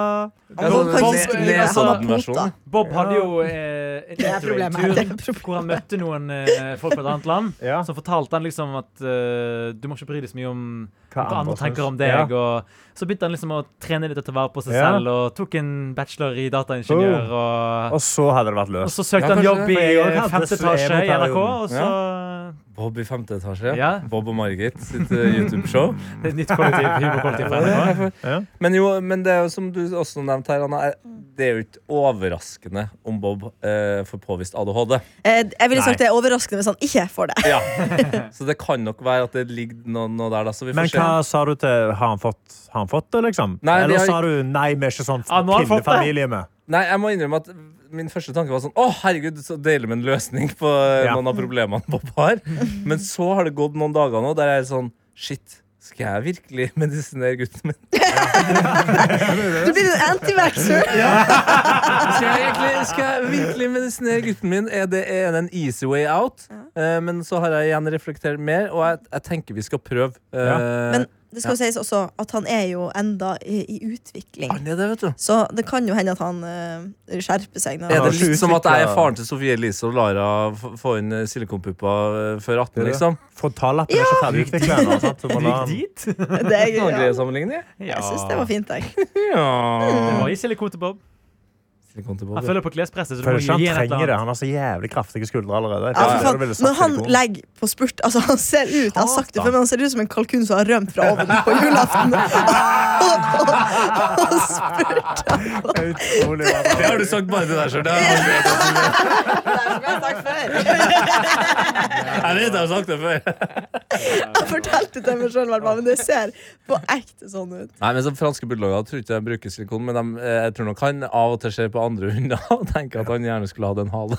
S5: Ja, sånn
S2: Bob kan
S5: ne-
S2: skrive
S5: ne-
S2: at han har
S5: sånn-versjon.
S2: pota.
S3: Bob hadde jo eh, en
S6: er problemet her. Det er
S3: interrail-tur hvor han møtte noen eh, folk fra et annet land.
S4: Ja.
S3: Så fortalte han liksom at eh, du må ikke bry deg så mye om hva andre,
S4: andre
S3: tenker
S4: syns.
S3: om deg. Og så begynte han liksom å trene litt og ta vare på seg
S4: Ja. Oh.
S3: selv, og tok en bachelor i dataingeniør. Og,
S4: Og så hadde det vært
S3: og
S4: løst.
S3: så søkte
S5: Ja,
S3: han
S5: kanskje
S3: jobb
S5: det.
S3: i
S4: For jeg også
S3: eh,
S4: hadde
S3: femte etasje i
S4: sleveperioden.
S3: NRK, og så
S5: Bob i femte etasje.
S3: Ja.
S5: Bob og Margit sitt eh, YouTube-show.
S3: Det er et nytt kollektiv. Humorkollektiv fra NRK.
S4: Ja.
S5: Men jo, men det er jo som du også nevnte her, Anna, er- det er jo ikke overraskende om Bob eh, får påvist ADHD.
S2: Eh, Jeg ville sagt det er overraskende hvis han ikke får det.
S5: Ja. Så det kan nok være at det ligger noe, noe der, da. Så vi får
S4: Men
S5: se.
S4: hva sa du til Har han fått, har han fått det, liksom?
S5: Nei, vi
S4: Eller
S5: har-
S4: sa du nei, vi er ikke sånn
S3: Ja, Ah, nå har han fått det.
S4: pinnefamilie med?
S5: Nei, jeg må innrømme at min første tanke var sånn Å, herregud, så deilig med en løsning på eh,
S4: Ja.
S5: noen av problemene Bob har. Men så har det gått noen dager nå der jeg er sånn Shit, skal jeg virkelig medisinere gutten min?
S2: Du blir en antivaxer.
S5: Skal jeg, egentlig, skal jeg virkelig medisinere gutten min? Er det er det en easy way out? Eh, men så har jeg igjen reflektert mer, og jeg, jeg tenker vi skal prøve. Eh,
S2: Men det skal jo sies også at han er jo enda i, i utvikling.
S5: han er Ah, det, vet du.
S2: Så det kan jo hende at han eh, skjerper seg. Når
S5: Er det
S4: har
S2: han,
S4: ikke
S5: litt som at jeg er
S4: utviklet-
S5: faren til Sofie Elise og Lara f- få inn eh, silikonpuppa eh, før 18,
S4: Det er det.
S5: liksom?
S4: Frontallappen er ikke ferdig utvikla ennå. sant? Så må la
S3: Gikk
S4: han-
S2: det
S3: dit?
S2: sånn, er,
S5: Noen
S2: ja.
S5: greier å sammenligne?
S2: Jeg syns det var fint, jeg.
S3: Det
S5: Ja.
S3: var i silikon til Bob.
S5: Silikon til Bob,
S3: Han
S5: ja.
S3: følger på klespresset. Så du må
S4: Føler
S3: gi
S4: ikke han
S3: han et
S4: trenger
S3: eller
S4: det.
S3: annet.
S4: Han har så jævlig kraftige skuldre allerede. Jeg
S2: Ja,
S4: føler
S2: Altså, for
S4: du
S2: faen.
S4: ville satt
S2: Når han
S4: silikon.
S2: legger på spurt Altså, han ser ut Jeg har sagt det før, men han ser ut som en kalkun som har rømt fra ovnen på julaften. Og spurt.
S4: Utrolig bra.
S5: Det har du sagt bare til deg sjøl. Jeg
S2: Det er som jeg har sagt før.
S5: vet jeg har sagt det før.
S2: Jeg fortalte til meg sjøl, men det ser på ekte sånn ut.
S5: Nei, men som Franske bulldogger tror ikke jeg bruker silikon, men de, eh, jeg tror nok han av og til ser på andre hunder og tenker at han gjerne skulle hatt en hale.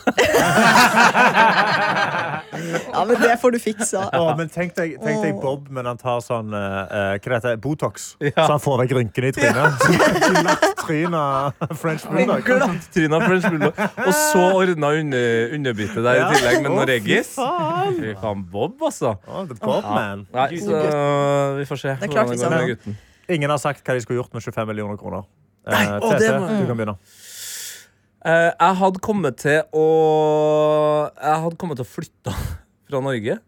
S2: Ja, men det får du fiksa.
S4: Å, men tenk deg, tenk deg
S2: Åh.
S4: Bob, men han tar sånn eh, eh, hva heter det, Botox.
S5: Ja.
S4: Så han får vekk rynkene i trynet. Så glatt Tryn av French bulldog.
S5: Glattryna French bulldog. Og så ordna under, underbitet der i
S4: Ja.
S5: tillegg med
S4: Å,
S5: noen
S4: fy
S5: reggis.
S4: faen.
S5: Fy faen, Bob, altså.
S4: Å, the Bob man.
S5: Nei, så vi får se
S2: Det er klart vi
S5: hvordan det
S2: skal
S5: går
S2: ha.
S5: med gutten.
S4: Ingen har sagt hva de skulle gjort med 25 millioner kroner. Eh,
S5: å,
S4: TT,
S5: det må-
S4: du kan begynne.
S5: Eh, jeg hadde kommet til å Jeg hadde kommet til å flytte fra Norge.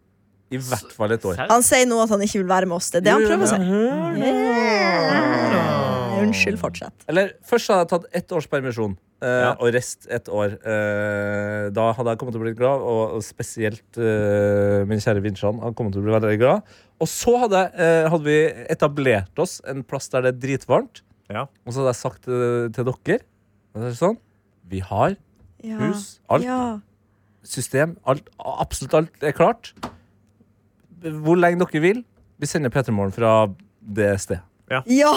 S5: I hvert fall et år.
S3: Serr?
S2: Han sier nå at han ikke vil være med oss. Det er det han prøver å si.
S5: Hør nå.
S2: Yeah. Unnskyld, fortsett.
S5: Eller først hadde jeg tatt ett års permisjon. eh,
S4: Ja.
S5: Og rest ett år. Eh, da hadde jeg kommet til å bli glad, og, og spesielt eh, min kjære Vinsjan hadde kommet til å bli veldig glad. Og så hadde, jeg, eh, hadde vi etablert oss en plass der det er dritvarmt.
S4: Ja.
S5: Og så hadde jeg sagt eh, til dere og så er det sånn, Vi har
S2: Ja.
S5: hus, alt,
S2: Ja.
S5: system, alt, absolutt alt er klart. Hvor lenge dere vil. Vi sender P3 Morgen fra det stedet.
S2: Ja!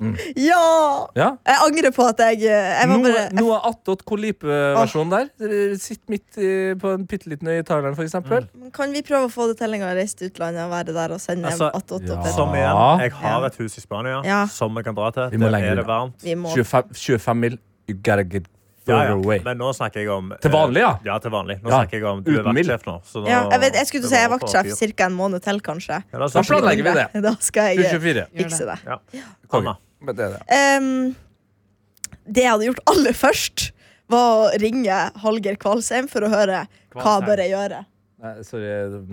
S2: Mm. ja!
S5: Ja?
S2: Jeg angrer på at jeg eh, Jeg var
S5: Noe,
S2: bare jeg,
S5: noe attåt Kolipe-versjon der. Dere Sitt midt i, på en bitte liten øy i Thailand, for eksempel.
S2: Kan vi prøve å få det til en gang å reise til utlandet og være der og sende
S4: Altså,
S2: attåt
S5: ja.
S2: opp?
S4: Som igjen,
S5: Ja.
S4: jeg har et hus i Spania
S2: Ja.
S4: som vi kan dra til.
S5: Vi må
S4: Der
S5: lenger
S4: er det
S5: ut.
S4: varmt.
S2: Vi må
S5: 25, 25 mil. You gotta get
S4: Ja,
S5: further
S4: ja.
S5: away.
S4: Men nå snakker jeg om eh,
S5: Til vanlig, ja.
S4: Ja, til vanlig. Nå
S5: Ja,
S4: snakker jeg om du er
S5: uten mild.
S4: vaktsjef nå. så nå-
S2: ja, jeg, vet, jeg skulle
S4: det
S2: si jeg er
S4: var
S2: vaktsjef
S4: på-
S2: ca. en måned til, kanskje.
S4: Ja, da
S5: Da
S4: snakker vi-
S5: planlegger vi det.
S2: Da skal jeg eh,
S5: 24.
S2: fikse det.
S5: Konge.
S4: Anna.
S5: Men det er det.
S2: Ehm, det jeg hadde gjort aller først, var å ringe Hallgeir Kvalsheim for å høre hva
S3: Kvalsheim.
S2: bør jeg gjøre.
S5: Nei, sorry,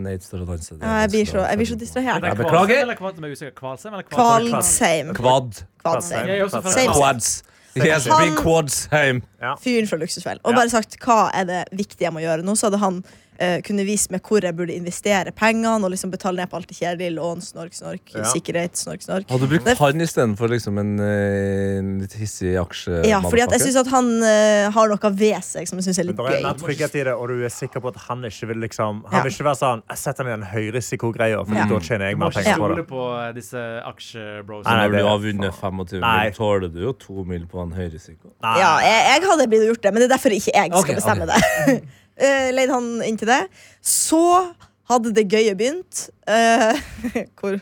S5: Nate står og danser. Det er
S2: Ja, jeg, blir
S5: vanskelig
S2: så,
S5: å-
S2: jeg blir så
S3: Er
S2: distrahert.
S3: det
S5: Jeg
S3: Kvalsheim
S5: beklager.
S3: eller Kvalsheim? Jeg er usikker. Kvalsheim eller Kvalsheim?
S2: Kvalsheim.
S5: Quad.
S2: Kvalsheim.
S3: Jeg er også fra-
S4: Same.
S5: Quads. Yes,
S2: Han-
S5: big quads home.
S2: Fyren fra Luksusfellen. Og
S4: Ja.
S2: bare sagt hva er det viktige jeg må gjøre nå. Så hadde han eh, kunne vise meg hvor jeg burde investere pengene, og liksom betale ned på alt det kjedelige. Lån, snork, snork,
S4: Ja.
S2: sikkerhet, snork, snork.
S5: Hadde du brukt
S2: Det-
S5: han istedenfor liksom en, eh, en litt hissig aksje...
S2: Ja, fordi at jeg syns at han eh, har noe ved seg som jeg syns er
S4: Men
S2: litt
S4: det er mer
S2: gøy.
S4: trygghet i det, og du er sikker på at han ikke vil liksom Han
S2: Ja.
S4: vil ikke være sånn Jeg setter meg i den høyrisikogreia, for
S2: Ja.
S4: da tjener jeg
S3: Du må
S4: mer
S3: ikke
S4: penger på
S3: stole
S4: det.
S3: på eh, disse aksjebros.
S4: Nei, nei,
S5: Når
S4: det-
S5: du har vunnet 25
S4: Nei.
S5: mil, tåler du jo to mil på en høyrisiko.
S4: Nei.
S2: Ja, jeg, jeg hadde blitt gjort det, men det er derfor ikke jeg skal
S5: Ok,
S2: bestemme det. Eh, Leid han inn til det. Så hadde det gøye begynt. Eh, hvor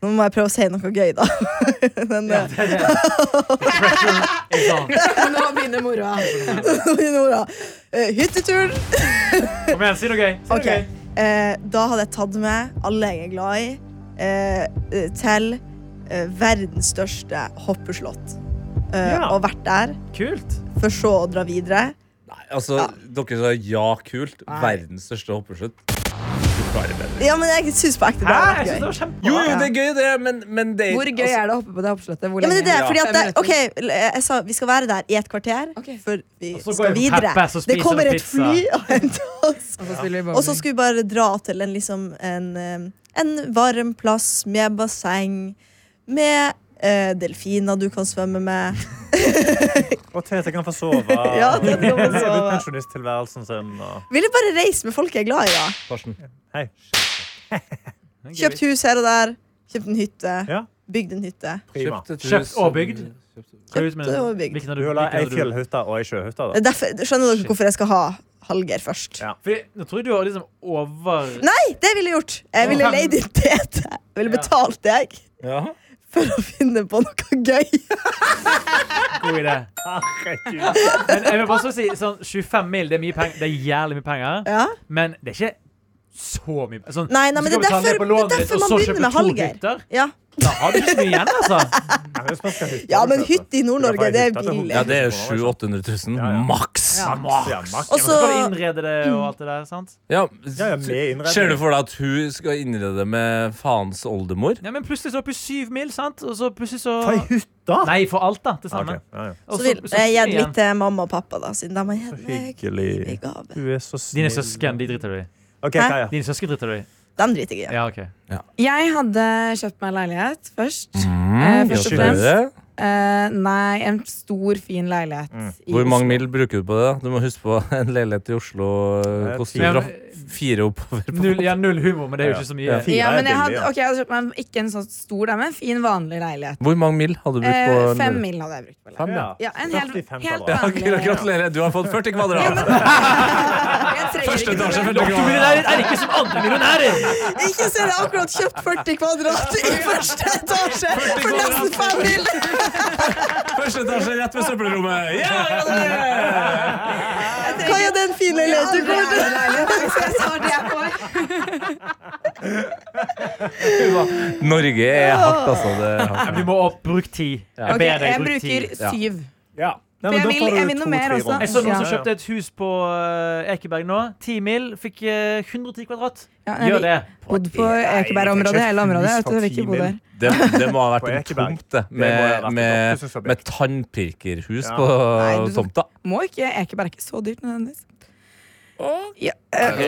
S2: Nå må jeg prøve å si noe gøy, da. Men, eh,
S3: Kom
S6: Nå begynner moroa.
S2: Nora. eh, hytteturen.
S3: igjen, si noe gøy. Si noe
S2: Ok.
S3: gøy.
S2: Eh, da hadde jeg tatt med alle jeg er glad i, eh, eh, til eh, verdens største hoppeslott. Eh,
S4: Ja.
S2: Og vært der,
S3: Kult.
S2: for så å dra videre.
S5: Nei, altså, dere sa ja, kult. Verdens største hoppeslutt.
S2: Ja, men jeg syns på ekte det
S3: Hæ?
S2: hadde vært
S3: Jeg synes det
S2: gøy.
S3: var kjempebra.
S5: Jo, jo, det er gøy, det, men, men det
S6: Hvor gøy er det å hoppe på det hoppslottet? Hvor
S2: altså- Ja, men det er det,
S5: Ja.
S2: fordi at
S6: Fem
S2: det, ok, jeg sa vi skal være der i et kvarter,
S6: Ok.
S2: for vi
S3: Og så går
S2: skal
S3: vi på
S2: videre.
S3: Peppes og
S2: Det
S3: spiser
S2: kommer
S3: noe
S2: et
S3: pizza.
S2: fly og henter oss.
S6: Og så spiller vi bowling.
S2: Og så skulle vi bare dra til en, liksom, en, eh, en varm plass med basseng, med eh, delfiner du kan svømme med.
S4: Og Tete kan få sove.
S2: Ja, Tete kan få
S4: og leve ut
S2: sove.
S4: pensjonisttilværelsen sin. Og...
S2: Ville bare reise med folk jeg er glad i. da
S5: altså, Karsten.
S4: Hei.
S2: Kjøpt hus her og der. Kjøpt en hytte.
S4: Ja.
S2: Bygd en hytte.
S4: Prima.
S5: Kjøpt et
S3: Kjøpt
S5: hus
S3: og bygd.
S5: som- kjøpt-
S3: Kjøpt
S2: og øh, bygd.
S4: Du vil ha ei fjellhytte og ei sjøhytte, da.
S2: Derfor, skjønner dere
S3: Shit.
S2: hvorfor jeg skal ha Hallgeir først?
S4: Ja.
S3: Fordi, nå tror jeg du har liksom over
S2: Nei, det ville jeg gjort! Jeg ville
S3: Ja.
S2: leid inn Tete. Jeg ville
S3: Ja.
S2: betalt deg
S5: Ja.
S2: for å finne på noe gøy.
S3: god idé.
S4: Herregud.
S3: Men jeg vil bare så si sånn 25 mil, det er mye penger. Det er jævlig mye penger.
S2: Ja.
S3: Men det er ikke så mye sånn,
S2: Nei, nei, men
S3: du skal
S2: det er
S3: betale ned
S2: derfor-
S3: på lånet
S2: det er
S3: ditt,
S2: derfor
S3: og
S2: man
S3: så
S2: begynner
S3: kjøpe
S2: med
S3: to
S2: Hallgeir.
S3: hytter.
S2: Ja.
S3: Da har du ikke mye igjen, altså.
S4: Ja, hvis man skal ha hytte, liksom,
S2: ja, men
S4: Tete.
S2: hytte i Nord-Norge, det er
S4: Ja,
S2: billig.
S5: ja, det er 700 000
S4: Ja, ja.
S5: maks.
S4: Ja, maks, ja, maks.
S2: Og så-
S3: Skal du innrede det og alt det der, sant?
S5: Ja.
S4: Ja, ja, med innredning.
S5: Ser du for deg at hun skal innrede med faens oldemor?
S3: Ja, men plutselig så opp i syv mil, sant? Og så plutselig så
S4: Ta ei hytte!
S3: Nei, for alt, da. Til
S4: Ja,
S3: sammen.
S4: ok. Ja, ja.
S3: Og
S2: Så vil jeg
S3: igjen.
S2: gitt litt til mamma og pappa, da, siden de har gitt meg i
S4: Hyggelig.
S2: gave.
S4: Du er så snill.
S3: Dine søsken, de driter du i.
S4: Ok,
S2: Hæ?
S4: Kaja.
S3: Dine søsken driter du i.
S2: De driter jeg i.
S3: Ja, OK.
S6: Jeg hadde kjøpt meg leilighet først.
S5: Mm,
S6: først og
S5: gjør du det?
S6: Eh, nei, en stor, fin leilighet.
S2: Mm.
S6: i
S5: Hvor mange
S6: Oslo.
S5: mil bruker du på det? da? Du må huske på en leilighet i Oslo eh,
S4: Ja,
S5: koster
S4: fire.
S5: fra fire oppover. på-
S3: eh, Null, ja, null humor, men det er jo
S4: Ja.
S3: ikke så
S4: Ja,
S3: mye.
S4: fint.
S6: Ja, men
S4: Fire
S6: jeg
S4: er billig,
S6: hadde,
S4: ja.
S6: ok, jeg hadde kjøpt meg ikke en sånn stor, da, men en fin, vanlig leilighet.
S5: Hvor mange mil hadde du brukt på
S6: Eh,
S5: en
S6: fem
S5: leilighet?
S6: mil hadde jeg brukt på leilighet.
S5: Fem, ja.
S6: Ja, en helt,
S4: 45
S6: helt
S4: kvadrat.
S6: vanlig leilighet.
S5: Gratulerer, du har fått 40 kvadrat!
S6: Jeg trenger
S5: Første
S6: ikke noe
S5: etasje,
S6: mer.
S5: 40 kvadrat.
S3: Millionærer er ikke som andre millionærer!
S2: Ikke se det, jeg har akkurat kjøpt 40 kvadrat i første etasje for nesten fem mil!
S5: Første etasje rett ved søppelrommet. Ja,
S6: Jeg trenger
S2: Kaja, det er en fin leilighet. Du kommer til
S5: Norge er hardt, altså. Det er hardt.
S3: Du må opp, bruk ti. Jeg
S6: Ok,
S3: ber deg,
S6: jeg
S3: bruk ti.
S6: bruker
S5: Ja.
S6: syv.
S4: Ja. Nei,
S6: jeg
S4: da
S6: vil-
S4: får du
S6: jeg vil noe
S4: to,
S6: mer
S4: tre
S6: også.
S4: runder.
S3: Jeg så noen
S6: Ja.
S3: som kjøpte et hus på eh, Ekeberg nå. Ti mil. Fikk eh, 110 kvadrat.
S6: Ja, nei,
S3: Gjør
S6: vi
S3: det.
S6: bodde på
S4: Nei, vi
S6: Ekeberg-området,
S4: fikk ikke
S6: hele området.
S4: hus
S6: Jeg vet du,
S4: for
S6: vi ikke
S4: ti
S6: bodde
S4: mil.
S6: der.
S5: Det, det må ha vært
S4: På
S5: en
S4: Ekeberg.
S5: tomt, det.
S4: må ha
S5: Med,
S4: vært et
S5: med,
S4: oppussingsobjekt.
S5: med tannpirkerhus
S4: Ja.
S5: på
S6: Nei, du-
S5: tomta.
S6: Må ikke Ekeberg er ikke så dyrt nødvendigvis. Ja,
S5: Ja, de,
S6: ok,
S5: kjøpt, de,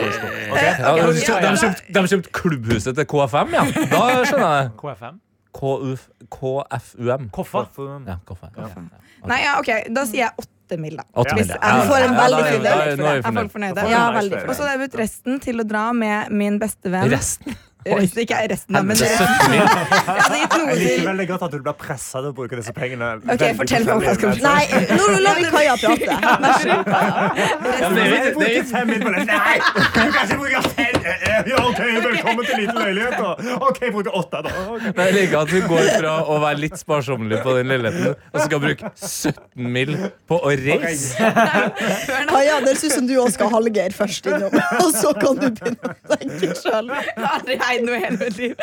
S6: ja.
S5: kjøpt, de kjøpte klubbhuset til KFM, ja. Da skjønner jeg.
S3: KFM.
S5: KUF, KFUM.
S3: Koffa.
S5: Ja, KFUM. Ja.
S6: Nei, ja, ok, da sier jeg åtte mil, da.
S5: Åtte
S4: Ja.
S5: mil,
S6: Ja,
S2: du får en
S5: Ja, da
S2: veldig
S5: er
S2: fin
S5: vi- da
S2: del
S5: er- Nå er vi
S6: Er folk
S5: fornøyde.
S6: fornøyde?
S4: Da får
S2: Ja,
S4: du
S2: veldig
S4: nice
S6: Og så hadde jeg brukt resten til å dra med min beste venn.
S5: Resten?
S6: Resten, ikke resten, da, men
S5: Det er
S6: resten.
S5: 17 mil.
S6: Jeg hadde gitt noe
S4: Jeg liker
S6: til
S4: veldig godt at du blir presset til å bruke disse pengene.
S6: Ok,
S4: Veldig
S6: fortell meg om hva jeg skal
S4: forskjellig,
S2: Nei, nå la vi Kaja prate. Vær så god.
S5: Ja, men
S4: men-
S5: det er-
S4: Jeg
S5: det
S4: bruker
S5: er-
S4: fem mil på det. Nei! Du kan ikke bruke fem! Eh, Ja, ok, Velkommen til liten leilighet, da. OK, jeg bruker åtte, da. Ok.
S5: Men Jeg liker at hun går fra å være litt sparsommelig på den leiligheten, og skal bruke 17 mil på å reise.
S6: før, da.
S2: Kaja, det synes som du også skal ha Hallgeir først innom, og så kan du begynne å tenke sjøl.
S6: Jeg har aldri eid noe i hele mitt liv.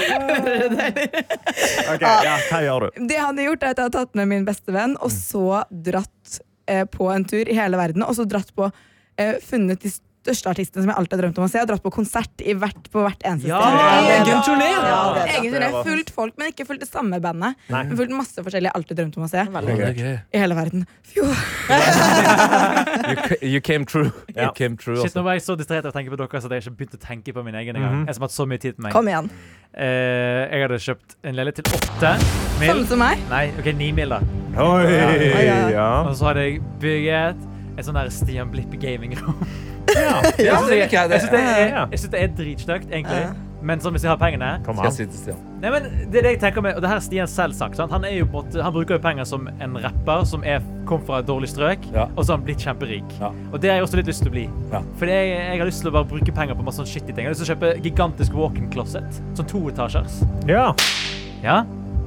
S4: Ok, ja, Hva gjør du?
S6: Det jeg hadde gjort, er at jeg hadde tatt med min beste venn, og så dratt eh, på en tur i hele verden. Og så dratt på eh, funnet de største artistene som jeg alltid har drømt om å se. Jeg har dratt på konsert i hvert, på hvert eneste
S3: Ja,
S6: sted.
S3: egen
S6: Ja,
S5: turné!
S2: Ja, det er bra.
S6: Egen turné. Fulgt folk, men ikke fulgt det samme bandet.
S4: Nei.
S6: Men fulgt masse forskjellige jeg alltid drømte om å se.
S5: Det er gøy.
S6: I hele verden. Fjo.
S5: You, ca- you came true.
S4: Ja.
S5: You came true
S3: Shit, nå
S5: altså.
S3: var jeg så distrahert av å tenke på dere så at jeg ikke begynte å tenke på min egen engang. Jeg som har hatt så mye tid på meg.
S2: Kom igjen.
S3: Eh, jeg hadde kjøpt en leilighet til åtte
S6: Samme
S3: mil.
S6: som meg.
S3: Nei, OK, ni mil, da.
S4: Oi, ja.
S3: Og så hadde jeg bygget et sånn der Stian Blipp gaming-rom.
S5: Ja, det liker jeg.
S3: Jeg syns det er,
S4: Ja.
S3: jeg synes det er dritstygt, egentlig. Men sånn hvis jeg har pengene
S4: Kom
S5: Skal
S4: an.
S5: jeg si til Stian.
S3: Nei, men det er det jeg tenker med, og det her har Stian selv sagt. Sant? Han, er jo på en måte, han bruker jo penger som en rapper som er, kom fra et dårlig strøk,
S5: Ja.
S3: og så har han blitt kjemperik.
S5: Ja.
S3: Og det har jeg også litt lyst til å bli.
S5: Ja.
S3: For jeg, jeg har lyst til å bare bruke penger på masse sånn shitty ting. Jeg har lyst til å kjøpe gigantisk walk-in closet. Sånn toetasjers.
S4: Ja.
S3: Ja.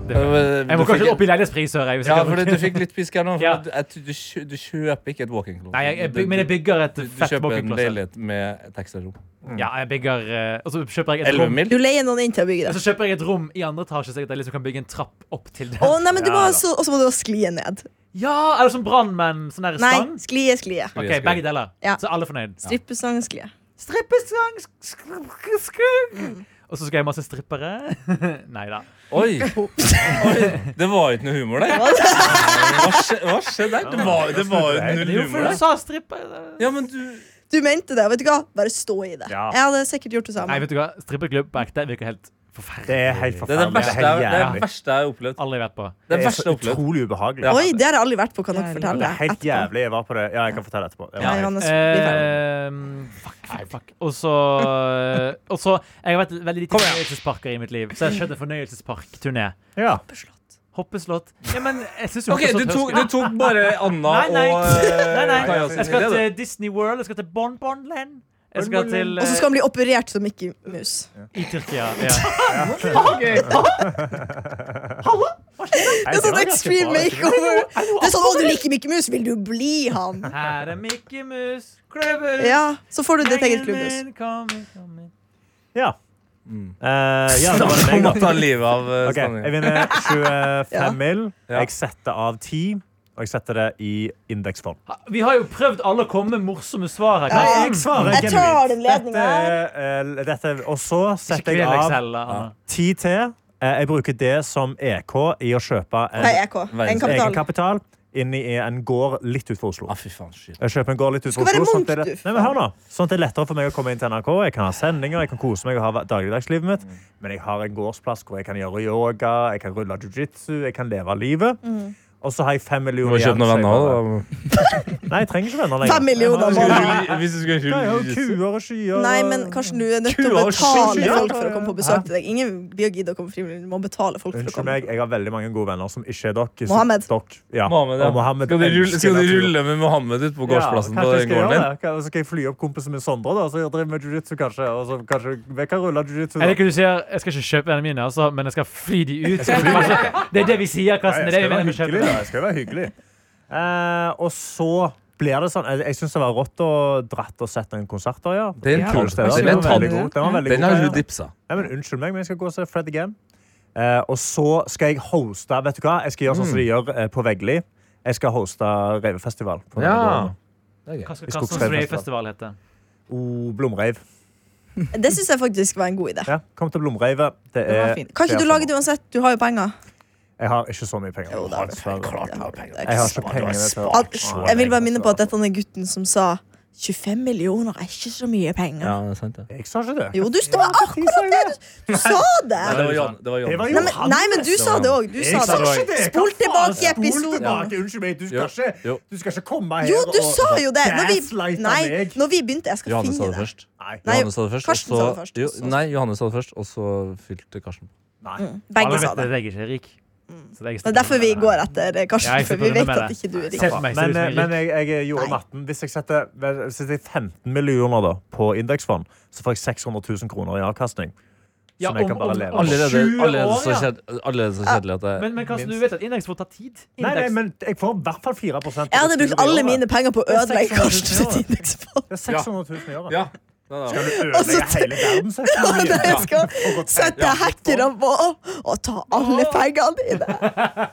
S3: Det er bra.
S5: Eh,
S3: Jeg
S5: du
S3: må kanskje
S5: fikk-
S3: opp i leilighetspris, hører jeg. hvis jeg
S5: Ja,
S3: kan-
S5: for du fikk litt pisk her nå. For
S3: Ja.
S5: du, jeg tror du, kjø- du kjøper ikke et walk-in closet.
S3: Nei, jeg, jeg, byg- men jeg bygger et
S5: Du, du
S3: fett
S5: kjøper
S3: walk-in
S5: en
S3: closet.
S5: leilighet med et ekstra rom.
S3: Ja, jeg bygger eh, Og så kjøper jeg et
S5: 11
S3: rom.
S5: mil?
S2: Du leier noen inn til å bygge
S3: Og
S2: det.
S3: så kjøper jeg et rom i andre etasje, så jeg at jeg liksom kan bygge en trapp opp til det.
S2: Å, nei, men du
S4: Ja,
S2: må
S4: da.
S2: også, og så må du også sklie ned.
S3: Ja, eller sånn brannmenn. Sånn der
S2: Nei,
S3: stang.
S2: sklie, sklie.
S3: OK, begge deler.
S2: Ja.
S3: Så alle er fornøyd.
S2: Strippesang, sklie.
S3: Strippesang sk- sk-
S5: Mm.
S3: sk- Og så skal jeg ha masse strippere. Nei da.
S5: Oi. Oi! Det var ikke noe humor der. Hva skje- hva skjedde der? Det var, det var jo null
S3: Jo, for
S5: humor
S3: du
S5: der.
S3: sa stripper.
S5: Ja, men du
S2: Du mente det, vet du hva? Bare stå i det.
S4: Ja.
S2: Jeg hadde sikkert gjort det samme.
S3: Nei, vet du hva? Strippeklubb på ekte virker helt forferdelig.
S4: Det er helt
S5: Det er det
S4: forferdelig.
S5: verste,
S4: Det er
S5: jeg-
S4: helt
S5: det er det
S4: jævlig.
S5: verste jeg har opplevd.
S3: Alle jeg vet på.
S5: Det er det
S4: Det er
S5: verste
S4: så
S5: jeg har opplevd.
S4: utrolig ubehagelig.
S5: Ja.
S2: Oi, det har jeg aldri vært på. Kan dere
S6: Jævlig.
S2: fortelle?
S4: Det er helt
S2: etterpå?
S4: jævlig. Jeg var på det. Ja, Eh, jeg kan fortelle etterpå. Jeg
S2: Ja,
S4: var-
S2: Johannes, bli ferdig.
S3: Ehm, fuck, fuck, fuck. Og så eh, Og så Jeg har vært veldig lite fornøyelsesparker i mitt liv, så jeg har kjørt en fornøyelsesparkturné.
S4: Ja.
S3: Hoppeslott. Ja, men jeg syns jo
S5: OK, du
S3: hoppeslott
S5: tok,
S3: høres-
S5: du tok bare Anna
S3: Nei, nei.
S5: og eh,
S3: Nei, nei.
S5: Kaja sin
S3: Jeg skal
S5: idé, da.
S3: til Disney World, jeg skal til Bon Bon Land. Jeg skal til
S2: Og så skal han bli operert som Mickey Mus.
S3: eh, I Tyrkia. Ja.
S4: Nei,
S2: Det er
S4: det
S2: sånn
S4: var ganske
S2: extreme
S4: bra.
S2: makeover. Det er sånn, Å, du liker Mickey Mus, vil du bli han?
S3: Her er Mickey Mus, Kløver
S2: Ja, Så får du ditt eget klubbhus.
S4: Ja. Eh, ja, det var det
S5: Snakk
S4: meg,
S5: om
S4: da.
S5: å ta livet av eh,
S4: Ok, jeg
S5: Stanley.
S4: vinner 25
S2: Ja.
S4: mil.
S5: Ja.
S4: Jeg setter av 10, og jeg setter det i indeksform.
S3: Vi har jo prøvd alle å komme med morsomme svar her.
S2: Ja,
S4: Jeg svarer
S2: Jeg tar den ledningen
S4: Dette, er, eh, dette, er- og så setter jeg
S3: Ikke kvel deg
S4: av
S3: selv, Anna.
S4: 10 til. Eh, Jeg bruker det som EK i å kjøpe
S2: Nei,
S4: en
S2: EK.
S5: Verdens egen
S2: Egenkapital.
S4: egenkapital inn i en gård litt utenfor Oslo.
S5: Ah, fy faen, shit.
S4: Jeg kjøper en gård litt
S2: Skal
S4: utenfor
S2: være
S4: Oslo. Sånn at,
S2: munk,
S4: det,
S2: du,
S4: nei, men hør nå, sånn at det er lettere for meg å komme inn til NRK. Jeg kan ha sendinger, jeg kan kose meg og ha dagligdagslivet mitt.
S2: Mm.
S4: Men jeg har en gårdsplass hvor jeg kan gjøre yoga, jeg kan rulle jiu-jitsu, jeg kan leve livet.
S2: Mm.
S4: Og så har jeg fem
S5: Du må
S4: millioner
S5: kjøpe noen
S4: så jeg
S5: venner
S4: bare-
S5: òg, da.
S4: Nei, jeg trenger ikke venner lenger.
S2: Fem millioner.
S4: Jeg har-
S2: mann.
S5: Hvis du skal
S4: Jeg har
S5: rulle
S4: jo
S5: jiu-jitsu.
S4: kuer og skyer. og-
S2: Nei, men Karsten, du er nødt til
S5: Kua
S2: å
S5: og
S2: betale
S5: skyen.
S2: folk for å komme på besøk til deg. Ingen blir å gidde å komme frivillig. Du må betale folk for å
S4: Unnskyld
S2: komme.
S4: meg, jeg har veldig mange gode venner som ikke er dere. så-
S2: Mohammed.
S4: Dere, ja.
S5: Mohammed, ja.
S4: Og Mohammed
S5: skal, du rulle,
S4: elsker
S5: skal du
S4: natur.
S5: rulle med Mohammed ut på gårdsplassen på
S4: Ja, kanskje
S5: den
S4: jeg skal
S5: gården din?
S4: gjøre det. Kan- Så skal jeg fly opp kompisen min Sondre, da, så jeg driver med jiu-jitsu, kanskje. Og så kanskje vi kan rulle jiu-jitsu. da.
S3: Jeg liker du sier jeg skal ikke kjøpe vennene mine, altså, men jeg skal fly de ut. Det er det vi sier,
S4: Ja,
S3: Karsten. Det er det vi
S4: jeg skal være
S3: mener med
S4: hyggelig,
S3: kjøpe.
S4: da. Jeg skal være hyggelig. Eh, og så blir det sånn Jeg, jeg syns det var rått å dratt og sett noen konserter, ja.
S5: Det er en
S4: Ja.
S5: kul
S4: Steder.
S5: spesiell.
S4: Den var
S5: Den
S4: veldig god. Den var veldig
S5: Den
S4: god,
S5: har
S4: ja.
S5: hun dipsa.
S4: Nei, men unnskyld meg, men jeg skal gå og se Fred again. Eh, og så skal jeg hoste Vet du hva? Jeg skal gjøre sånn
S5: Mm.
S4: som de gjør eh, på Veggli. Jeg skal hoste revefestival. på denne
S3: Hva
S4: gården.
S3: skal
S4: I
S3: Karstens
S4: Skogsfjellfestival.
S3: Rave-festival hete?
S4: Oh, blomreiv.
S2: Det syns jeg faktisk var en god idé.
S4: Ja, kom til blomreivet. Det
S6: var
S4: er
S6: fint.
S2: Kan ikke du
S4: det er
S2: lage det uansett? Du har jo penger.
S4: Jeg har ikke så mye penger.
S2: Jo, det har du. Det har du. Det er
S4: Jeg har
S2: ikke
S4: ikke pengene til å-
S2: At, jeg vil bare minne på at dette er gutten som sa 25 millioner er ikke så mye penger.
S5: det er sant, det.
S4: Jeg sa ikke det.
S2: Jo, du, det var akkurat det! Du sa det!
S5: Nei, det var Jan. Det var Jan.
S4: Det var
S2: Nei,
S4: Jan.
S2: men, nei, men du sa det òg. Du sa
S4: Jeg sa ikke
S2: det.
S4: det.
S2: Spol tilbake i
S4: Spol
S2: episoden.
S4: tilbake. Unnskyld meg. Du
S5: Jo,
S4: skal, ikke,
S5: jo.
S4: du skal ikke komme her
S2: Jo, du
S4: og
S2: sa jo det! Når vi,
S4: gaslighte
S2: nei,
S4: meg.
S2: når vi begynte Jeg skal
S5: Johanne sa
S2: finne
S5: det
S2: det.
S5: først.
S4: Nei.
S2: Nei,
S5: Johanne sa det først, og
S2: Karsten sa
S5: så-
S2: det først,
S5: Jo,
S2: og så-
S5: Nei, Johanne sa det først, og så fylte Karsten på.
S4: Nei.
S2: Mm.
S3: Alle
S2: Begge sa
S3: vet
S2: det. Mm.
S3: at jeg ikke er rik. Så det er jeg
S2: Det er derfor vi går etter eh,
S3: Ja,
S2: Karsten,
S3: jeg
S2: for vi vet
S3: slipper unna med
S2: at
S3: det.
S2: ikke du er
S3: Se
S2: rik.
S3: for meg,
S4: Men,
S3: ser ut som jeg er
S4: eh, men
S3: rik.
S4: jeg, jeg gjorde
S2: Nei.
S4: matten. Hvis jeg setter, vel, setter jeg 15 millioner da, på indeksfond, så får jeg 600 000 kroner i avkastning.
S3: Ja,
S4: Som jeg
S3: om-
S4: kan bare
S3: om-
S4: leve
S3: om-
S4: av.
S5: Allerede,
S3: 20 år,
S5: allerede, så,
S3: ja.
S5: kjed, allerede så kjedelig at jeg
S3: Men, men Karsten, du vet at indeksfond tar tid.
S4: Nei, nei,
S3: Indeks-
S4: men jeg får i hvert fall 4 på
S2: Jeg hadde brukt
S4: retur i
S2: alle
S4: året.
S2: mine penger på å
S4: Det er
S2: ødelegge
S4: 600 000
S2: Karsten sitt
S4: i året.
S2: indeksfond.
S4: Det er 600 000 i året.
S5: Ja. Nei, nei,
S4: Skal du
S2: Altså,
S4: ødelegge hele verden? så er det
S2: Jeg skal
S4: for å gå til-
S2: sette
S5: Ja.
S2: hackerne på og ta alle pengene dine.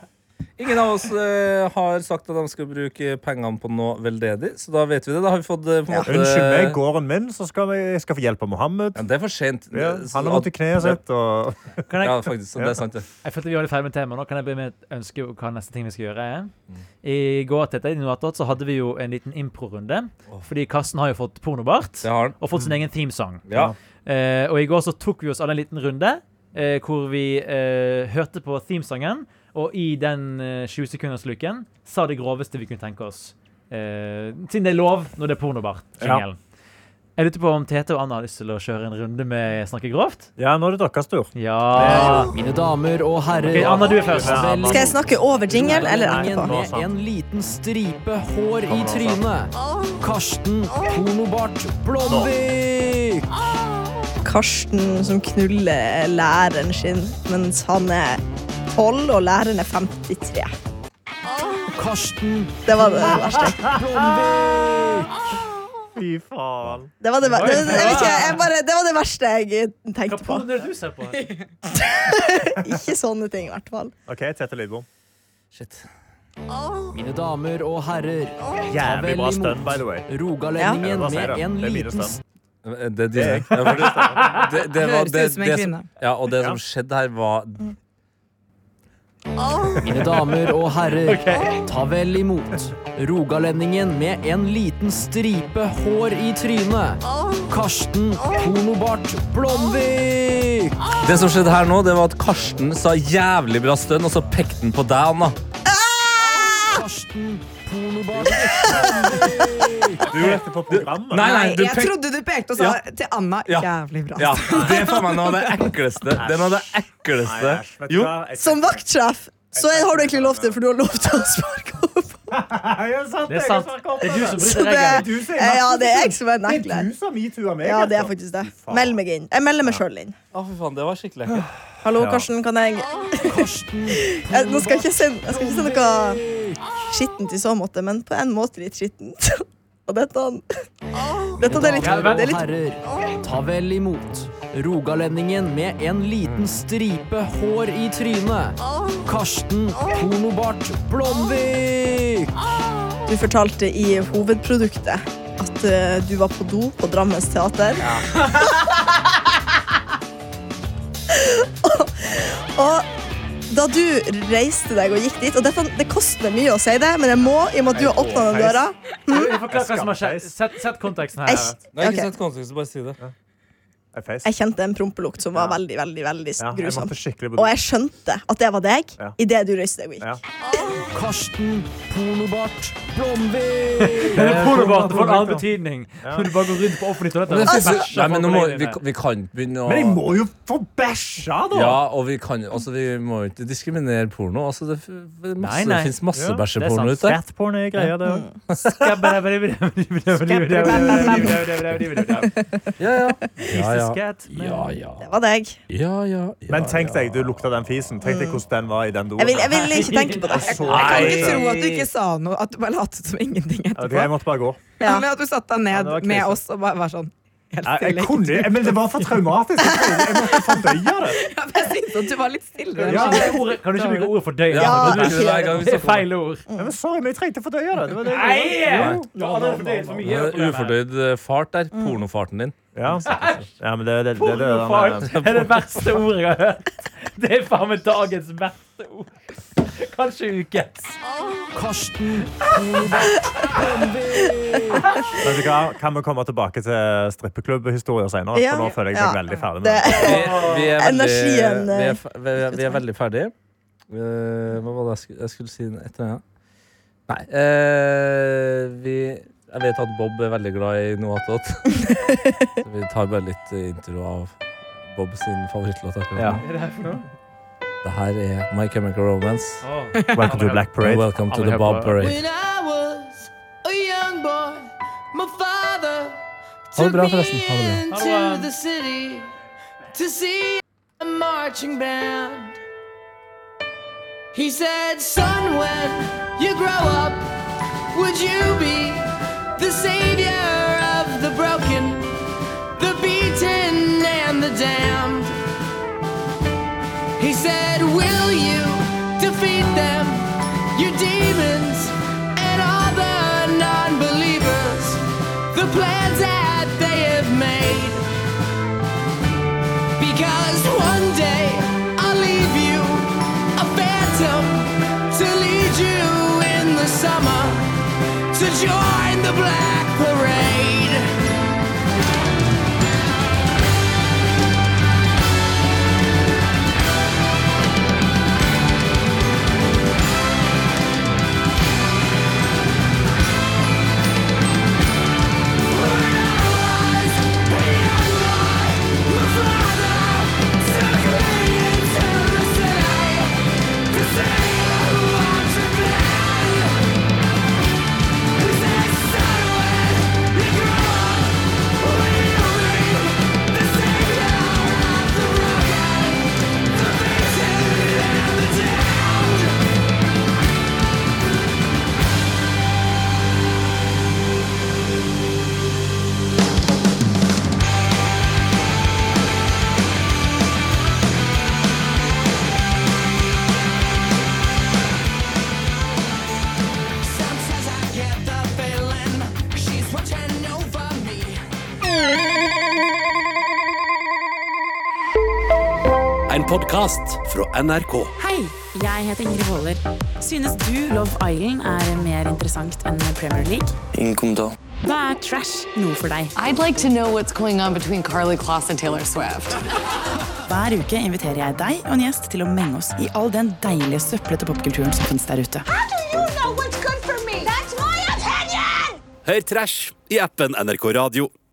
S5: Ingen av oss eh, har sagt at de skal bruke pengene på noe veldedig, så da vet vi det. Da har vi fått eh, på en måte
S4: Unnskyld meg, gården min, så skal vi, jeg skal få hjelp av Mohammed.
S5: Ja, det er for sent.
S4: Ja,
S5: Så
S4: han har vondt i
S5: at-
S4: kneet sitt. Og...
S3: Kan jeg,
S5: Ja, faktisk. så Det er sant, det.
S3: jeg følte vi var litt ferdig med temaet nå. Kan jeg be med et ønske om hva neste ting vi skal gjøre er? I går til dette, i Noatot, så hadde vi jo en liten improrunde. Fordi Karsten har jo fått pornobart.
S5: Det har han.
S3: Og fått sin egen themesong.
S5: Ja.
S3: Eh, og i går så tok vi oss alle en liten runde eh, hvor vi eh, hørte på themesangen, og i den eh, 20-sekundersluken sa det groveste vi kunne tenke oss. Eh, siden det er lov når det er pornobart. jingelen. Jeg lurte på om Tete og Anna har lyst til å kjøre en runde med Snakke grovt?
S4: Ja, nå er det deres tur.
S3: Ja.
S7: Mine damer og herrer.
S3: Ok, Anna, du er først.
S7: Vel-
S2: Skal jeg snakke over jingle eller etterpå?
S3: altså.
S7: Med en liten stripe hår i trynet. Karsten Pornobart Blomvik.
S2: Karsten som knuller læreren sin mens han er 12 og læreren er 53.
S7: Karsten
S2: Det var det verste.
S7: Blomvik.
S4: Fy faen.
S2: Det var det, ver- det, jeg vet ikke, jeg bare, det, var det verste jeg
S3: Hva
S2: tenkte på.
S3: porno er det du ser på?
S2: Ikke sånne ting, i hvert fall.
S4: OK, Tete Lidbom.
S7: Mine damer og herrer. Ta
S4: Jævlig
S7: vel
S4: bra stunt,
S7: imot
S4: by the way.
S2: Ja.
S7: rogalendingen
S4: Ja, hva sier
S7: med
S4: de?
S7: en
S4: Det er mine
S7: liten
S4: stemmer.
S5: Det, det, det, ja, for det, det, det var
S6: Høres
S5: det,
S6: ut som en
S5: det som,
S6: kvinne.
S5: ja, og det som skjedde her, var
S7: Mine damer og herrer, ta vel imot rogalendingen med en liten stripe hår i trynet. Karsten Pornobart Blomvik.
S5: Det som skjedde her nå, det var at Karsten sa jævlig bra stønn, og så pekte han på deg, Anna.
S7: Karsten Pornobart
S4: Du er dette på programmet.
S5: Nei, nei, du
S6: jeg
S5: pek-
S6: trodde du pekte og sa til Anna
S5: Ja.
S6: jævlig bra.
S5: Ja, det er faen meg noe av det ekleste. Det er noe av det ekleste.
S4: Nei, æsj, vet du
S5: Jo,
S4: hva? Jeg-
S2: Som vaktsjef så er- har du egentlig lov til for du har lov til å sparke opp.
S4: Nei, jeg sa
S3: Det er
S4: jeg
S3: sant.
S4: snakker om
S3: Det er du som
S2: Så
S3: bryter
S2: det,
S3: regelen.
S4: Du sier
S2: ja, det er jeg som er
S4: Det er
S2: nekler.
S4: du som metooer meg.
S2: Ja, det er
S4: altså.
S2: faktisk det.
S4: Fy faen.
S2: Meld meg inn. Jeg melder meg sjøl inn.
S5: Å, for faen, det var skikkelig ekkelt.
S2: Hallo,
S4: Ja.
S2: Karsten, kan jeg
S7: Karsten
S2: jeg, Nå skal jeg ikke sende, jeg skal ikke sende noe skittent i så måte, men på en måte litt skittent. Og dette Dette er litt,
S7: Damer
S2: det er
S7: og
S2: litt
S7: herrer, ta vel imot rogalendingen med en liten stripe hår i trynet. Karsten Pornobart Blomvik.
S2: Du fortalte i hovedproduktet at eh, du var på do på Drammens teater. og, og da du reiste deg og gikk dit Og dette, Det koster meg mye å si det, men jeg må i og med at du har åpna den døra.
S3: Forklar hva som har skjedd. Sett, sett konteksten her.
S2: Jeg,
S5: Nei, ikke
S2: ok.
S5: sett kontekst, bare si det.
S4: Jeg feis.
S2: jeg kjente en prompelukt som var
S4: Ja.
S2: veldig veldig, veldig
S4: Ja, jeg
S2: grusom.
S4: måtte skikkelig på
S2: Og jeg skjønte at det var deg
S4: Ja.
S2: idet du reiste deg og
S4: Ja.
S2: gikk.
S7: Karsten Pornobart Blomvik.
S3: Det er pornobart det får en annen betydning. Når du bare går rundt på offentlig toalett og bæsjer
S5: Nei, men nå må,
S3: folk
S5: vi,
S3: på deg.
S5: vi kan ikke begynne
S4: Men jeg
S5: å
S4: må jo få bæsja, da!
S5: ja, og vi kan altså, Vi må jo ikke diskriminere porno. Altså, det, f- det er masse,
S3: Nei, nei.
S5: det fins masse
S4: Ja,
S5: bæsjeporno
S3: det
S5: ute.
S3: er sånn
S4: Fatporn er greia, det òg.
S5: Ja, ja. Ja, ja. Ja, ja.
S2: Det var deg.
S5: ja, ja, ja
S4: Men tenk deg, du lukta den fisen. Tenk deg hvordan den var i den doen.
S2: Jeg vil, jeg vil ikke tenke på det.
S6: Jeg kan ikke
S4: Nei.
S6: tro at du ikke sa noe, at du bare lot som ingenting
S4: Ok,
S6: etterpå.
S4: jeg måtte bare gå.
S2: Ja.
S6: Men at du satt deg
S4: Ja,
S6: ned
S4: det var krise.
S6: med oss og bare var sånn helt
S4: Jeg,
S6: stille.
S4: jeg kunne, jeg- men det var for traumatisk. Jeg, trodde- jeg måtte fordøye det.
S6: Ja, men Jeg syntes at du var litt stille.
S4: Ja.
S3: Kan du ikke bruke ordet fordøye?
S5: Ja,
S2: Ja,
S5: det blir
S3: Det
S5: det hver gang vi
S3: er
S5: snakker om det.
S3: feil ord.
S4: Ja, men sorry, men jeg trengte å fordøye det. det, var det jeg gjorde.
S3: Nei!
S5: Ja, det er Ufordøyd eh, fart der.
S2: Mm.
S5: Pornofarten din.
S4: Ja. ja, men det det- det- det- det-
S3: Pornofart er det verste ordet jeg har hørt. Det er faen meg dagens verste ord. Kanskje ukens.
S7: Karsten Pornobart Blomvik.
S4: Vet du hva? Kan vi komme tilbake til strippeklubbhistorier senere?
S2: Ja.
S4: For nå føler jeg meg
S2: Ja.
S4: veldig ferdig med
S2: det.
S4: det.
S5: Vi, vi er veldig,
S2: Energien,
S5: vi,
S2: eh,
S5: er, fe- vi, er, vi er veldig ferdige. Eh, hva var det jeg skulle, jeg skulle si etter det? Nei eh, vi, Jeg vet at Bob er veldig glad i noe attåt. Så vi tar bare litt eh, intro av Bob sin favorittlåt. akkurat
S4: Ja.
S5: nå. Det her er My Chemical Romance.
S4: Welcome to Black
S5: And
S4: Parade.
S5: welcome to
S3: Alle
S5: the
S3: hører
S5: Bob
S3: på-
S5: Parade.
S7: When I was a young boy, my father
S5: Ha det
S7: took
S5: bra,
S7: me
S5: forresten. Ha det
S7: into
S3: Ha det bra.
S7: the city to see a marching band. He said, son, when you grow up, would you be the savior of the broken, the beaten, and the damned? He said, will you defeat them? to join the black parade. Sometimes I get the feeling she's watching over me.
S1: En podcast fra NRK.
S8: Hei, jeg heter Ingrid Waaler. Synes du Love Island er mer interessant enn Premier League?
S9: Ingen kommentar.
S8: Da er trash noe for deg.
S10: I'd like to know what's going on between Carly Kloss and Taylor Swift.
S8: Hver uke inviterer jeg deg og en gjest til å menge oss i all den deilige søplete popkulturen som finnes der ute.
S1: Hør trash i appen NRK Radio.